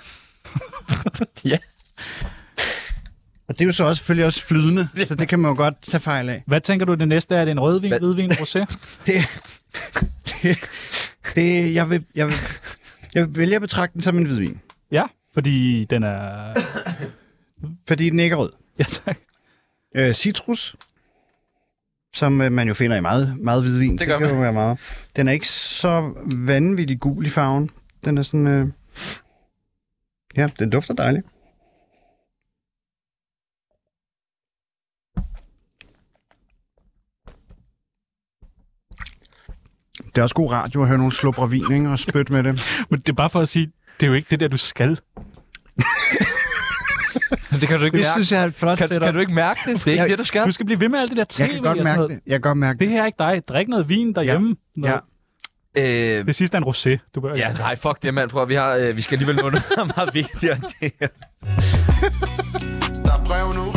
[SPEAKER 1] Ja.
[SPEAKER 3] Og det er jo så også, selvfølgelig også flydende, så det kan man jo godt tage fejl af.
[SPEAKER 4] Hvad tænker du, det næste er? Er det en rødvin,
[SPEAKER 1] Hvad-
[SPEAKER 4] hvidvin,
[SPEAKER 3] [LAUGHS]
[SPEAKER 4] rosé?
[SPEAKER 3] Det, det, det jeg, vil, jeg, vil, jeg vil vælge at betragte den som en hvidvin,
[SPEAKER 4] Ja, fordi den er...
[SPEAKER 3] fordi den ikke er rød.
[SPEAKER 4] Ja, tak.
[SPEAKER 3] Øh, citrus, som øh, man jo finder i meget, meget hvidvin. Det,
[SPEAKER 1] gør
[SPEAKER 3] det kan
[SPEAKER 1] man.
[SPEAKER 3] jo være meget. Den er ikke så vanvittig gul i farven. Den er sådan... Øh... Ja, den dufter dejligt. Det er også god radio at høre nogle slubrer vin, ikke? Og spytte med det.
[SPEAKER 4] Men det er bare for at sige, det er jo ikke det der, du skal.
[SPEAKER 1] [LAUGHS] Det kan du ikke
[SPEAKER 3] Det
[SPEAKER 1] mærke.
[SPEAKER 3] synes jeg er et flot
[SPEAKER 1] Kan, kan du ikke mærke det? Det er ikke
[SPEAKER 3] Jeg-
[SPEAKER 1] det, du skal.
[SPEAKER 4] Du skal blive ved med alt det der tv
[SPEAKER 3] Jeg kan godt
[SPEAKER 4] og sådan
[SPEAKER 3] mærke
[SPEAKER 4] noget.
[SPEAKER 3] det. Jeg kan godt mærke
[SPEAKER 4] Det
[SPEAKER 3] det.
[SPEAKER 4] her er ikke dig. Drik noget vin derhjemme. Ja.
[SPEAKER 3] Ja.
[SPEAKER 1] Øh,
[SPEAKER 4] Det sidste er en rosé. Du bør...
[SPEAKER 1] ja, nej, fuck det, mand. Prøv, at- vi, har, øh, vi skal alligevel nå noget, [LAUGHS] der er meget vigtigere end det her.
[SPEAKER 7] Der er brev nu.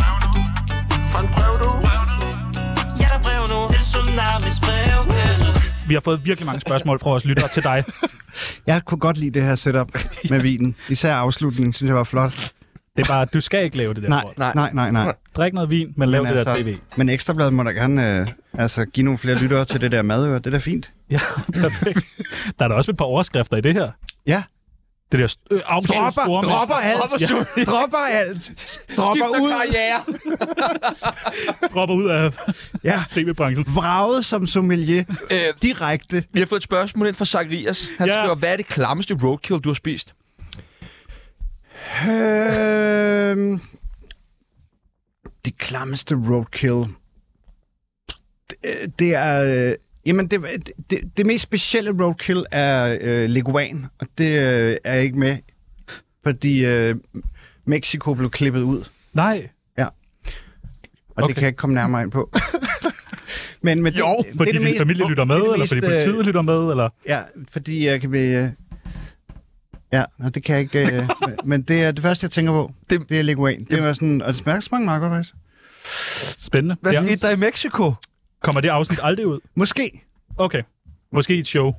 [SPEAKER 7] Fra en brev nu.
[SPEAKER 6] Ja, der er brev nu til Tsunamis brevkasse.
[SPEAKER 4] Vi har fået virkelig mange spørgsmål fra vores lyttere til dig.
[SPEAKER 3] Jeg kunne godt lide det her setup med vinen. Især afslutningen, synes jeg var flot.
[SPEAKER 4] Det er bare, du skal ikke lave det der.
[SPEAKER 3] Nej,
[SPEAKER 4] Morten.
[SPEAKER 1] Nej.
[SPEAKER 3] nej, nej, nej. nej.
[SPEAKER 4] Drik noget vin, men lav
[SPEAKER 3] Men
[SPEAKER 4] det der
[SPEAKER 3] altså-
[SPEAKER 4] tv.
[SPEAKER 3] Men Ekstrabladet må da gerne øh, altså, give nogle flere lyttere til det der madøre. Det er da fint.
[SPEAKER 4] Ja, [LAUGHS] perfekt. Der er da også et par overskrifter i det her.
[SPEAKER 3] Ja.
[SPEAKER 4] Det der st- øh,
[SPEAKER 3] Dropper, dropper alt.
[SPEAKER 1] Dropper
[SPEAKER 3] [LAUGHS] Ja. Dropper alt. Dropper ud.
[SPEAKER 1] karriere.
[SPEAKER 4] dropper ud af
[SPEAKER 3] Ja.
[SPEAKER 4] tv-branchen.
[SPEAKER 3] Vraget som sommelier.
[SPEAKER 1] Øh,
[SPEAKER 3] Direkte.
[SPEAKER 1] vi har fået et spørgsmål ind fra Zacharias. Han
[SPEAKER 4] Ja.
[SPEAKER 1] skriver, hvad er det klammeste roadkill, du har spist?
[SPEAKER 3] Øh, det klammeste roadkill. Det, det er... Øh, jamen, det, det, det mest specielle roadkill er øh, leguan, og det øh, er jeg ikke med, fordi øh, Mexico blev klippet ud.
[SPEAKER 4] Nej.
[SPEAKER 3] Og okay.
[SPEAKER 4] Okay.
[SPEAKER 3] det kan jeg ikke komme nærmere ind
[SPEAKER 4] [LAUGHS]
[SPEAKER 3] på. men, men
[SPEAKER 4] Jo,
[SPEAKER 3] det,
[SPEAKER 4] fordi
[SPEAKER 3] det er det
[SPEAKER 4] din
[SPEAKER 3] mest-
[SPEAKER 4] familie lytter med,
[SPEAKER 3] det er det
[SPEAKER 4] eller fordi
[SPEAKER 3] mest, øh,
[SPEAKER 4] politiet lytter med, eller...
[SPEAKER 3] Ja, fordi jeg kan blive... øh, Ja, og det kan jeg ikke...
[SPEAKER 4] [LAUGHS]
[SPEAKER 3] øh, men det er det første, jeg tænker på.
[SPEAKER 1] Det-
[SPEAKER 3] Det, det er leguan. Det var sådan... Og det smager så mange meget godt, faktisk.
[SPEAKER 4] Spændende.
[SPEAKER 1] Hvad
[SPEAKER 4] Ja.
[SPEAKER 1] skete der i Mexico?
[SPEAKER 4] Kommer det afsnit aldrig ud?
[SPEAKER 3] Måske.
[SPEAKER 4] Okay. Måske i et show.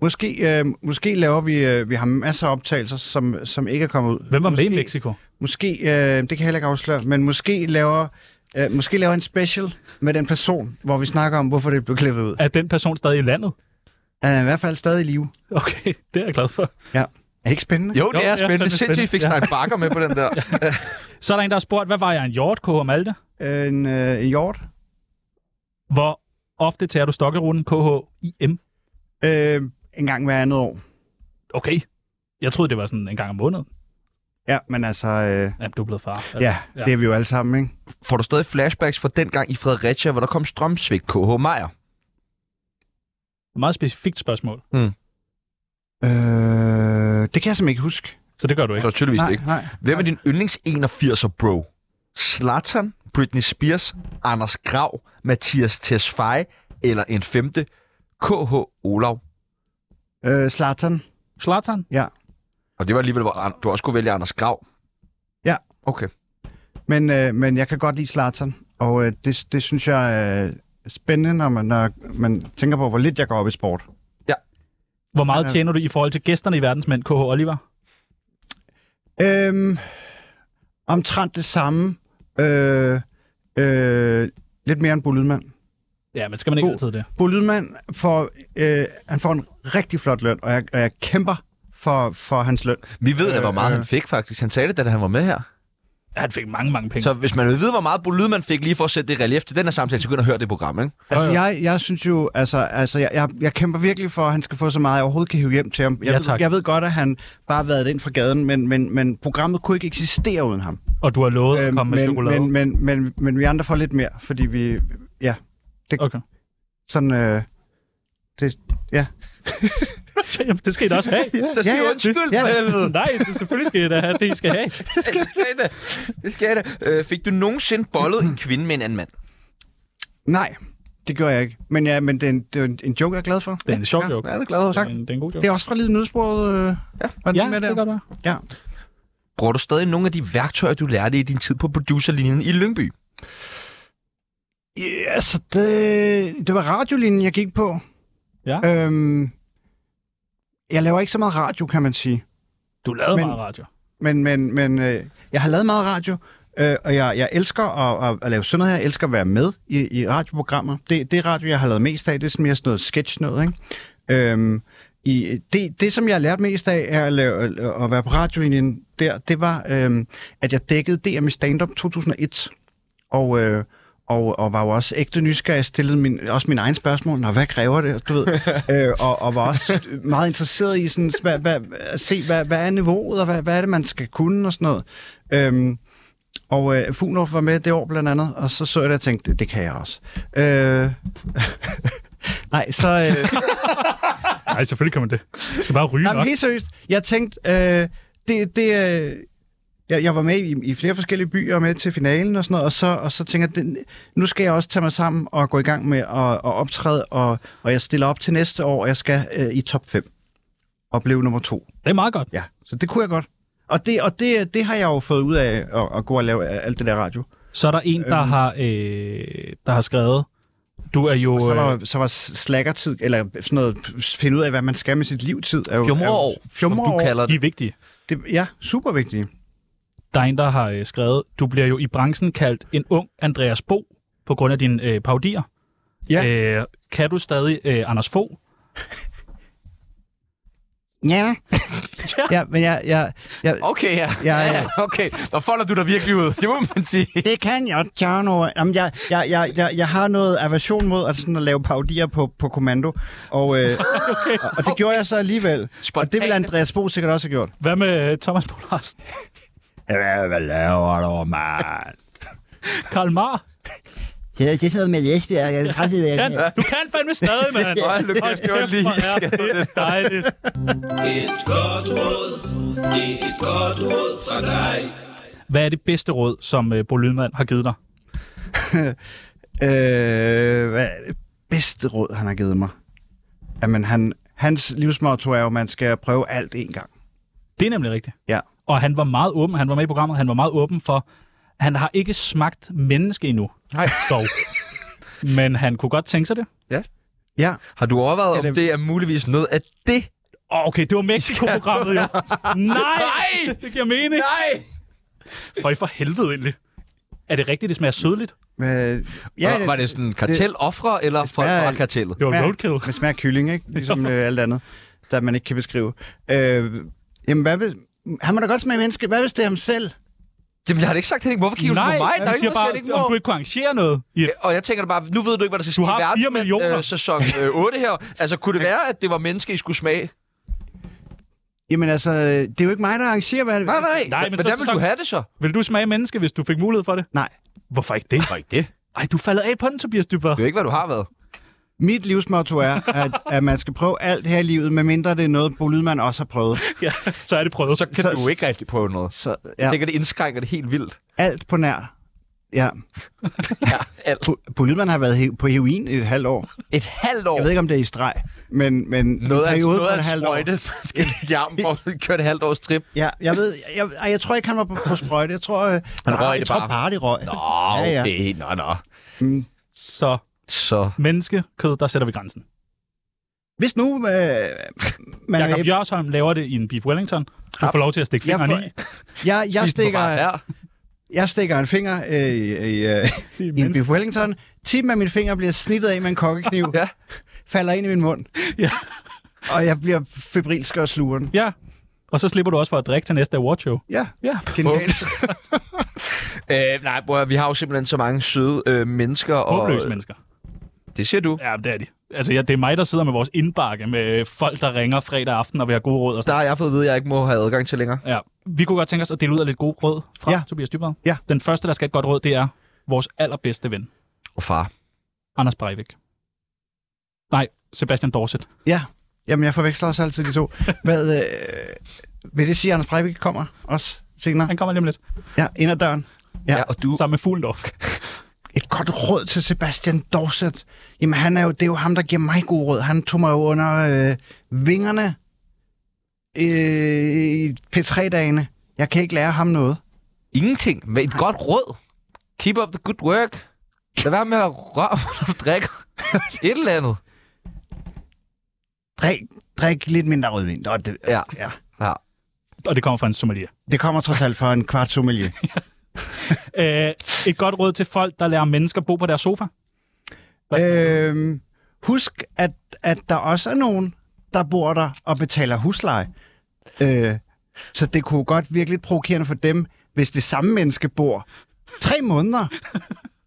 [SPEAKER 3] Måske, øh, måske laver vi... Øh, vi har masser af optagelser, som, som ikke er kommet ud.
[SPEAKER 4] Hvem var
[SPEAKER 3] måske,
[SPEAKER 4] med i Mexico?
[SPEAKER 3] Måske... Øh, det kan jeg heller ikke afsløre. Men måske laver... Øh, måske laver en special med den person, hvor vi snakker om, hvorfor det blev klippet ud.
[SPEAKER 4] Er den person stadig i landet?
[SPEAKER 3] Han er i hvert fald stadig i live.
[SPEAKER 4] Okay, [LAUGHS] det er jeg glad for.
[SPEAKER 3] Ja. Er det ikke spændende?
[SPEAKER 1] Jo, det
[SPEAKER 4] ja,
[SPEAKER 1] er
[SPEAKER 4] det er
[SPEAKER 1] spændende. Sindssygt, I fik
[SPEAKER 4] spændende.
[SPEAKER 1] Stein Bakker med på den der.
[SPEAKER 4] [LAUGHS] Så er der en, der har spurgt, hvad var jeg en hjortkå og Malte?
[SPEAKER 3] Øh, en, øh, en hjort.
[SPEAKER 4] Hvor ofte tager du stokkeruten KHIM?
[SPEAKER 3] Øh, en gang hver andet år.
[SPEAKER 4] Okay. Jeg troede, det var sådan en gang om måneden.
[SPEAKER 3] Ja, men altså... Øh,
[SPEAKER 4] Ja, du er blevet far. Altså,
[SPEAKER 3] ja,
[SPEAKER 4] ja.
[SPEAKER 3] det er vi jo alle sammen, ikke?
[SPEAKER 1] Får du stadig flashbacks fra dengang i Fredericia, hvor der kom strømsvigt KH Meier?
[SPEAKER 4] Et meget specifikt spørgsmål.
[SPEAKER 3] Øh, det kan jeg simpelthen ikke huske.
[SPEAKER 4] Så det gør du ikke.
[SPEAKER 1] Så tydeligvis
[SPEAKER 3] nej,
[SPEAKER 1] ikke.
[SPEAKER 3] nej.
[SPEAKER 1] Hvem er din yndlings 81'er, bro? Slatan, Britney Spears, Anders Grav, Mathias Tesfaye eller en femte, KH Olav.
[SPEAKER 3] Øh, Slatan.
[SPEAKER 4] Slatan?
[SPEAKER 3] Ja.
[SPEAKER 1] Og det var alligevel, hvor An- du også kunne vælge Anders Grav.
[SPEAKER 3] Ja.
[SPEAKER 1] Okay.
[SPEAKER 3] Men, øh, men jeg kan godt lide Zlatan, og øh, det, det synes jeg er spændende, når man, når man tænker på, hvor lidt jeg går op i sport.
[SPEAKER 4] Hvor meget
[SPEAKER 3] Ja.
[SPEAKER 4] tjener du i forhold til gæsterne i verdensmænd, KH Oliver?
[SPEAKER 3] Øhm, omtrent det samme. Øh, øh, lidt mere end Bo Lydman.
[SPEAKER 4] Ja, men skal man ikke
[SPEAKER 3] Bo-
[SPEAKER 4] altid det?
[SPEAKER 3] Bo Lydman får, øh, han får en rigtig flot løn, og jeg, og jeg kæmper for, for hans løn.
[SPEAKER 1] Vi ved da, hvor
[SPEAKER 3] Øh,
[SPEAKER 1] meget
[SPEAKER 3] øh.
[SPEAKER 1] han fik faktisk. Han sagde det, da han var med her.
[SPEAKER 4] Ja, han fik mange, mange penge.
[SPEAKER 1] Så hvis man vil vide, hvor meget Bo Lydman fik lige for at sætte det i relief til den her samtale, så begynder at høre det program, ikke?
[SPEAKER 3] Altså,
[SPEAKER 4] Jo, jo.
[SPEAKER 3] jeg, jeg synes jo, altså, altså jeg, jeg, jeg kæmper virkelig for, at han skal få så meget, jeg overhovedet kan hive hjem til ham. Jeg,
[SPEAKER 4] Ja,
[SPEAKER 3] ved,
[SPEAKER 4] tak.
[SPEAKER 3] jeg ved godt, at han bare har været ind fra gaden, men, men, men programmet kunne ikke eksistere uden ham. Øh,
[SPEAKER 4] Og du har lovet at komme med
[SPEAKER 3] men,
[SPEAKER 4] chokolade.
[SPEAKER 3] men, men, men, men vi andre får lidt mere, fordi vi... Ja,
[SPEAKER 4] Okay. [LAUGHS]
[SPEAKER 3] sådan... Øh, det, ja.
[SPEAKER 4] Jamen, det skal I da også have.
[SPEAKER 1] Så sig
[SPEAKER 3] [LAUGHS] Ja, ja.
[SPEAKER 1] undskyld,
[SPEAKER 3] Ja.
[SPEAKER 1] for helvede.
[SPEAKER 4] Nej, det, selvfølgelig skal I da have det, I skal have.
[SPEAKER 1] [LAUGHS] Det skal jeg da. Det skal jeg da. Øh, fik du nogensinde bollet en kvinde med en anden mand?
[SPEAKER 3] Nej, det gør jeg ikke. Men, ja, men det, er en, det er en- en joke, jeg er glad for.
[SPEAKER 4] Det er en sjov joke.
[SPEAKER 1] Ja, det er glad over.
[SPEAKER 4] Det er
[SPEAKER 3] tak.
[SPEAKER 4] en- Det er en god joke.
[SPEAKER 3] Det er også fra Lille Nødsbrød. Øh, ja, var den
[SPEAKER 4] Ja,
[SPEAKER 3] med der?
[SPEAKER 4] det gør du.
[SPEAKER 3] Ja.
[SPEAKER 1] Bruger du stadig nogle af de værktøjer, du lærte i din tid på producerlinjen i Lyngby?
[SPEAKER 3] Ja, altså, det, det var radiolinjen, jeg gik på.
[SPEAKER 4] Ja.
[SPEAKER 3] Øhm, jeg laver ikke så meget radio, kan man sige.
[SPEAKER 4] Du lavede
[SPEAKER 3] Men-
[SPEAKER 4] meget radio.
[SPEAKER 3] Men, men, men øh, jeg har lavet meget radio, øh, og jeg, jeg elsker at, at, at lave sådan noget her. Jeg elsker at være med i, i radioprogrammer. Det, det radio, jeg har lavet mest af, det er sådan mere sådan noget sketch noget, ikke? Øhm, i, det, det, som jeg har lært mest af er at, lave, at være på radiolinjen der, det var, øhm, at jeg dækkede DM i stand-up 2001. Og, øh, og, og var jo også ægte nysgerrig. Jeg stillede min, også mine egne spørgsmål. Nå, hvad kræver det? Og Du ved. øh, og, og var også meget interesseret i sådan, hvad, hvad, at se, hvad, hvad er niveauet, og hvad, hvad er det, man skal kunne, og sådan noget. Øhm, og øh, Funov var med det år blandt andet, og så så jeg det og tænkte, det, det kan jeg også. Øh, [LAUGHS] nej, så... Øh,
[SPEAKER 4] Nej, selvfølgelig kan man det. Jeg skal bare ryge
[SPEAKER 3] nej, men
[SPEAKER 4] nok.
[SPEAKER 3] helt seriøst, jeg tænkte, øh, det... det øh, jeg, jeg var med i, i flere forskellige byer og med til finalen og sådan noget, og så, og så tænker jeg, den- nu skal jeg også tage mig sammen og gå i gang med at, at optræde, og, og jeg stiller op til næste år, og jeg skal øh, i top 5 og blev nummer to.
[SPEAKER 4] Det er meget godt.
[SPEAKER 3] Ja, så det kunne jeg godt. Og det, og det, det har jeg jo fået ud af at, at gå og lave alt det der radio.
[SPEAKER 4] Så er der en,
[SPEAKER 3] Øhm.
[SPEAKER 4] der, har, øh, der har skrevet, du er jo...
[SPEAKER 3] Og så
[SPEAKER 4] øh,
[SPEAKER 3] var, så var slackertid, eller sådan noget, finde ud af, hvad man skal med sit livtid. er jo- er
[SPEAKER 1] Fjumreår,
[SPEAKER 3] jo-
[SPEAKER 1] som du
[SPEAKER 3] Fjumreår.
[SPEAKER 1] kalder
[SPEAKER 4] Øhm, de
[SPEAKER 1] det.
[SPEAKER 4] er vigtige.
[SPEAKER 3] det. Ja, super vigtigt.
[SPEAKER 4] Der er en, der har øh, skrevet, du bliver jo i branchen kaldt en ung Andreas Bo, på grund af dine øh, paudier.
[SPEAKER 3] Ja.
[SPEAKER 4] Øh, kan du stadig øh, Anders Fogh?
[SPEAKER 3] Ja. ja, men jeg, jeg, jeg,
[SPEAKER 1] Okay, ja.
[SPEAKER 3] Ja, ja.
[SPEAKER 1] [LAUGHS] Okay, der folder du dig virkelig ud. Det må man
[SPEAKER 4] [LAUGHS]
[SPEAKER 1] sige.
[SPEAKER 3] det kan jeg, Tjerno. Jamen, jeg, jeg, jeg, jeg, jeg har noget aversion mod at, sådan at lave paudier på, på kommando, og, [LAUGHS] øh, okay. og, og det gjorde jeg så alligevel. Og det ville Andreas Bo sikkert også have gjort.
[SPEAKER 4] Hvad med øh, Thomas Bolars?
[SPEAKER 3] Hvad laver du, mand?
[SPEAKER 4] Karl Mar?
[SPEAKER 9] Det er sådan noget med Esbjerg. Jeg kan aldrig
[SPEAKER 3] [LAUGHS]
[SPEAKER 4] Kan, du kan fandme stadig, [LAUGHS] mand.
[SPEAKER 1] Hold nu kæft, det var lige
[SPEAKER 4] hvor er det dejligt.
[SPEAKER 7] Et godt råd, det er et godt råd fra dig.
[SPEAKER 4] Hvad er det bedste råd, som øh, Bo Lydman har givet dig?
[SPEAKER 3] Øh, hvad er det bedste råd, han har givet mig? Jamen, han, hans livsmotto er jo, at man skal prøve alt en gang.
[SPEAKER 4] Det er nemlig rigtigt.
[SPEAKER 3] Ja.
[SPEAKER 4] Og han var meget åben, han var med i programmet, han var meget åben for, han har ikke smagt menneske endnu. Nej. Dog. Men han kunne godt tænke sig det.
[SPEAKER 3] Ja,
[SPEAKER 1] Har du overvejet,
[SPEAKER 3] Ja,
[SPEAKER 1] om
[SPEAKER 3] det-
[SPEAKER 1] det er muligvis noget af det?
[SPEAKER 4] Åh, okay, det var Mexico-programmet,
[SPEAKER 1] [LAUGHS]
[SPEAKER 4] jo. Nej! [LAUGHS] Det giver mening.
[SPEAKER 1] Nej!
[SPEAKER 4] For i for helvede, egentlig. Er det rigtigt, det smager sødligt?
[SPEAKER 3] men,
[SPEAKER 1] Ja,
[SPEAKER 3] Øh, ja
[SPEAKER 1] det, var det sådan karteloffre, eller folk
[SPEAKER 3] smager-
[SPEAKER 1] fra kartellet?
[SPEAKER 4] Det var
[SPEAKER 3] smager-
[SPEAKER 4] roadkill.
[SPEAKER 3] Men smager af kylling, ikke? Ligesom øh, alt andet, der man ikke kan beskrive. Øh, jamen, hvad hvis... Han må da godt smage menneske. Hvad hvis det er ham selv?
[SPEAKER 1] Jamen, jeg har da ikke sagt, at ikke må. Hvorfor kigger du
[SPEAKER 4] Nej,
[SPEAKER 1] på mig? Der er
[SPEAKER 4] jeg
[SPEAKER 1] ikke
[SPEAKER 4] siger
[SPEAKER 1] noget, der siger, at det
[SPEAKER 4] bare,
[SPEAKER 1] ikke
[SPEAKER 4] om du
[SPEAKER 1] må.
[SPEAKER 4] ikke kunne arrangere noget. Ja.
[SPEAKER 1] Og jeg tænker da bare, nu ved du ikke, hvad der skal ske
[SPEAKER 4] Du har
[SPEAKER 1] i verden,
[SPEAKER 4] fire
[SPEAKER 1] men,
[SPEAKER 4] millioner.
[SPEAKER 1] Øh, sæson øh, 8 her. Altså, kunne det være, at det var menneske, I skulle smage?
[SPEAKER 3] Jamen altså, øh, det er jo ikke mig, der arrangerer, hvad
[SPEAKER 1] Nej, nej.
[SPEAKER 4] Nej, men så-
[SPEAKER 1] Hvordan vil
[SPEAKER 4] så-
[SPEAKER 1] du have det så?
[SPEAKER 4] Vil du smage menneske, hvis du fik mulighed for det?
[SPEAKER 3] Nej.
[SPEAKER 4] Hvorfor ikke det?
[SPEAKER 1] Og ikke det.
[SPEAKER 4] Ej, du falder af på den, Tobias Dybvad.
[SPEAKER 1] Det er jo ikke, hvad du har været.
[SPEAKER 3] Mit livsmotto er, at, at man skal prøve alt her i livet, medmindre det er noget, Bo Lydman også har prøvet.
[SPEAKER 4] Ja, så er det prøvet.
[SPEAKER 1] Så kan
[SPEAKER 3] Så-
[SPEAKER 1] du ikke rigtig prøve noget.
[SPEAKER 3] Så
[SPEAKER 1] Jeg
[SPEAKER 3] ja,
[SPEAKER 1] tænker, det indskrænker det helt vildt.
[SPEAKER 3] alt på nær. Ja.
[SPEAKER 1] alt.
[SPEAKER 3] Bo- Bo Lydman har været he- på heroin i et halvt år.
[SPEAKER 1] Et halvt år.
[SPEAKER 3] Jeg ved ikke, om det er i streg, men, men
[SPEAKER 1] Noget af, noget af
[SPEAKER 3] et
[SPEAKER 1] en
[SPEAKER 3] halvt år.
[SPEAKER 1] sprøjte, man skal lægge i armen, hvor man kører et halvt års trip.
[SPEAKER 3] Ja, jeg ved, jeg, jeg, jeg tror ikke, han var på, på sprøjte. Jeg tror, han
[SPEAKER 1] røg
[SPEAKER 3] bare,
[SPEAKER 1] det
[SPEAKER 3] jeg tror
[SPEAKER 1] bare.
[SPEAKER 3] bare, det røg.
[SPEAKER 1] Åh,
[SPEAKER 3] Ja, ja.
[SPEAKER 1] okay. Nå, nå.
[SPEAKER 4] Så
[SPEAKER 1] Så.
[SPEAKER 4] menneskekød, der sætter vi grænsen.
[SPEAKER 3] Hvis nu øh, man... øh,
[SPEAKER 4] Jakob
[SPEAKER 1] Øh,
[SPEAKER 3] jeg,
[SPEAKER 4] Jørsholm laver det i en Beef Wellington. Du får lov til at stikke
[SPEAKER 3] Jeg
[SPEAKER 4] fingeren i.
[SPEAKER 3] jeg, jeg,
[SPEAKER 1] Spis den på bare
[SPEAKER 3] stikker,
[SPEAKER 1] her.
[SPEAKER 3] jeg stikker en finger øh, i, øh, i en beef wellington. Tippen af min finger bliver snittet af med en kokkekniv.
[SPEAKER 1] Ja.
[SPEAKER 3] Falder ind i min mund.
[SPEAKER 4] Ja.
[SPEAKER 3] Og jeg bliver febrilsk og sluger den.
[SPEAKER 4] Ja, og så slipper du også for at drikke til næste awardshow.
[SPEAKER 3] Ja.
[SPEAKER 4] Ja,
[SPEAKER 3] Genialt.
[SPEAKER 1] Øh, nej, bror, vi har jo simpelthen så mange søde øh, mennesker. Og,
[SPEAKER 4] håbløse mennesker.
[SPEAKER 1] Det siger du.
[SPEAKER 4] Ja, det er de. Altså, ja, det er mig, der sidder med vores indbakke med folk, der ringer fredag aften og vil have gode råd. Og
[SPEAKER 1] Der
[SPEAKER 4] sådan.
[SPEAKER 1] har jeg fået at vide, at jeg ikke må have adgang til længere.
[SPEAKER 4] Ja. Vi kunne godt tænke os at dele ud af lidt gode råd fra
[SPEAKER 3] Ja.
[SPEAKER 4] ja. Tobias Dybvad.
[SPEAKER 3] Ja.
[SPEAKER 4] Den første, der skal have et godt råd, det er vores allerbedste ven,
[SPEAKER 1] Og far.
[SPEAKER 4] Anders Breivik. Nej, Sebastian Dorset.
[SPEAKER 3] ja. Jamen, jeg forveksler også altid de to. Hvad, øh, vil det sige, at Anders Breivik kommer også senere?
[SPEAKER 4] Han kommer lige om lidt.
[SPEAKER 3] Ja, ind ad døren. Ja.
[SPEAKER 1] og du...
[SPEAKER 4] Sammen med Fuglendorf.
[SPEAKER 3] et godt råd til Sebastian Dorset. Jamen, han er jo, det er jo ham, der giver mig god råd. Han tog mig jo under øh, vingerne øh, i P3-dagene. Jeg kan ikke lære ham noget.
[SPEAKER 1] Ingenting. Men et godt råd. Keep up the good work. Lad være med at røre, når du drikker. Et eller andet.
[SPEAKER 3] Drik, drik lidt mindre rødvin. Nå, det,
[SPEAKER 1] Ja.
[SPEAKER 3] ja.
[SPEAKER 1] Ja.
[SPEAKER 4] Og det kommer fra en sommelier.
[SPEAKER 3] Det kommer trods alt fra en kvart sommelier.
[SPEAKER 4] Øh, et godt råd til folk, der lader mennesker bo på deres sofa. [LAUGHS] Hvad
[SPEAKER 1] Øh,
[SPEAKER 4] skal
[SPEAKER 3] øhm, husk, at, at der også er nogen, der bor der og betaler husleje. Øh, så det kunne godt virke lidt provokerende for dem, hvis det samme menneske bor tre måneder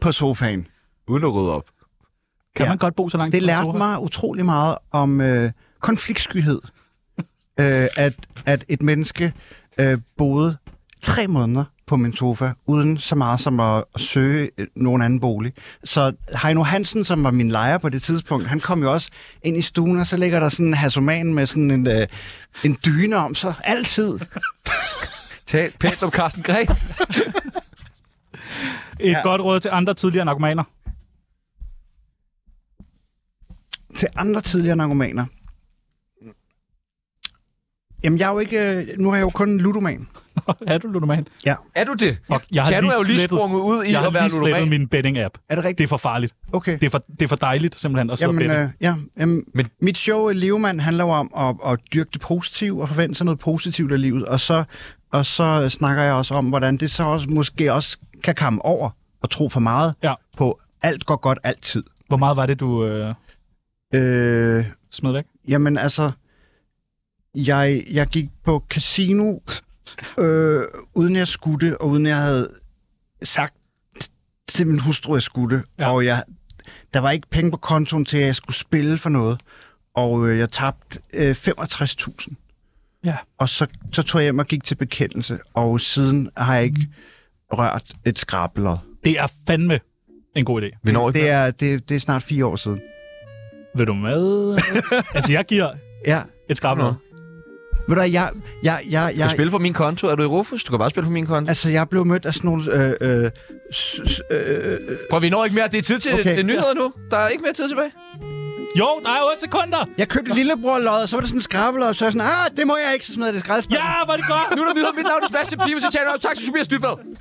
[SPEAKER 3] på sofaen.
[SPEAKER 1] Uden at rydde op.
[SPEAKER 4] Kan
[SPEAKER 3] Ja.
[SPEAKER 4] man godt bo så langt
[SPEAKER 3] Det
[SPEAKER 4] på
[SPEAKER 3] lærte
[SPEAKER 4] sofa?
[SPEAKER 3] mig utrolig meget om øh, konfliktskyhed. [LAUGHS] øh, at, at et menneske øh, boede tre måneder på min sofa, uden så meget som at, at søge øh, nogen anden bolig. Så Heino Hansen, som var min lejer på det tidspunkt, han kom jo også ind i stuen, og så ligger der sådan en hasoman med sådan en, øh, en dyne om sig. Altid. [LAUGHS]
[SPEAKER 1] Tal pænt om Carsten Græk.
[SPEAKER 4] Et ja. godt råd til andre tidligere narkomaner. [LAUGHS]
[SPEAKER 3] til andre tidligere narkomaner? Jamen, jeg er jo ikke... øh, Nu har jeg jo kun en ludoman.
[SPEAKER 4] er du ludoman?
[SPEAKER 1] Er du det?
[SPEAKER 4] Fuck, jeg har
[SPEAKER 1] Tja, du
[SPEAKER 4] lige
[SPEAKER 1] er jo lige
[SPEAKER 4] slettet-
[SPEAKER 1] sprunget ud i
[SPEAKER 4] Jeg har
[SPEAKER 1] at være
[SPEAKER 4] lige slettet
[SPEAKER 1] ludoman.
[SPEAKER 4] min betting-app.
[SPEAKER 3] Er det rigtigt?
[SPEAKER 4] Det er for farligt.
[SPEAKER 3] Okay.
[SPEAKER 4] Det er for, det er for dejligt simpelthen at sidde og
[SPEAKER 3] Jamen,
[SPEAKER 4] bette.
[SPEAKER 3] øh, ja, jamen,
[SPEAKER 1] Men-
[SPEAKER 3] Men... Mit show, øh, Levemand, handler jo om at, at dyrke det positive og forvente sig noget positivt af livet. Og så, og så snakker jeg også om, hvordan det så også, måske også kan komme over og tro for meget
[SPEAKER 4] Ja.
[SPEAKER 3] på, alt går godt altid.
[SPEAKER 4] Hvor meget var det, du øh,
[SPEAKER 3] Øh,
[SPEAKER 4] smed væk?
[SPEAKER 3] jamen altså, jeg, jeg gik på casino, øh, uden jeg skudte, og uden jeg havde sagt til min hustru, at jeg skudte.
[SPEAKER 4] Ja.
[SPEAKER 3] Ja. Og jeg, der var ikke penge på kontoen til, at jeg skulle spille for noget. Og øh, jeg tabte øh, 65.000.
[SPEAKER 4] Ja.
[SPEAKER 3] Og så, så tog jeg hjem og gik til bekendelse. Og siden har jeg ikke rørt et skrabelod.
[SPEAKER 4] Det er fandme en god idé.
[SPEAKER 1] Vi når ikke.
[SPEAKER 3] Det er, det, det er snart fire år siden.
[SPEAKER 4] Vil du
[SPEAKER 1] [LAUGHS]
[SPEAKER 4] med? altså, jeg giver
[SPEAKER 3] Ja.
[SPEAKER 4] et skrab noget.
[SPEAKER 3] Ved du hvad, jeg, jeg, jeg,
[SPEAKER 1] Du
[SPEAKER 3] jeg,
[SPEAKER 1] spiller for min konto. Er du i Rufus? Du kan bare spille for min konto.
[SPEAKER 3] Altså, jeg blev mødt af sådan nogle... Øh, øh, s- s- øh, øh,
[SPEAKER 1] Prøv, vi når ikke mere. Det er tid til,
[SPEAKER 3] Okay.
[SPEAKER 1] til nyheder nu. Der er ikke mere tid tilbage.
[SPEAKER 4] Jo, der er 8 sekunder!
[SPEAKER 3] jeg købte lillebror og så var det sådan en skrabelod, og så var jeg sådan, ah, det må jeg ikke, så smed jeg det i skraldespanden.
[SPEAKER 4] Ja, var det godt!
[SPEAKER 1] Nu er der videre. Mit navn er Sebastian Pibes. Jeg tjener også tak til Tobias Dybvad.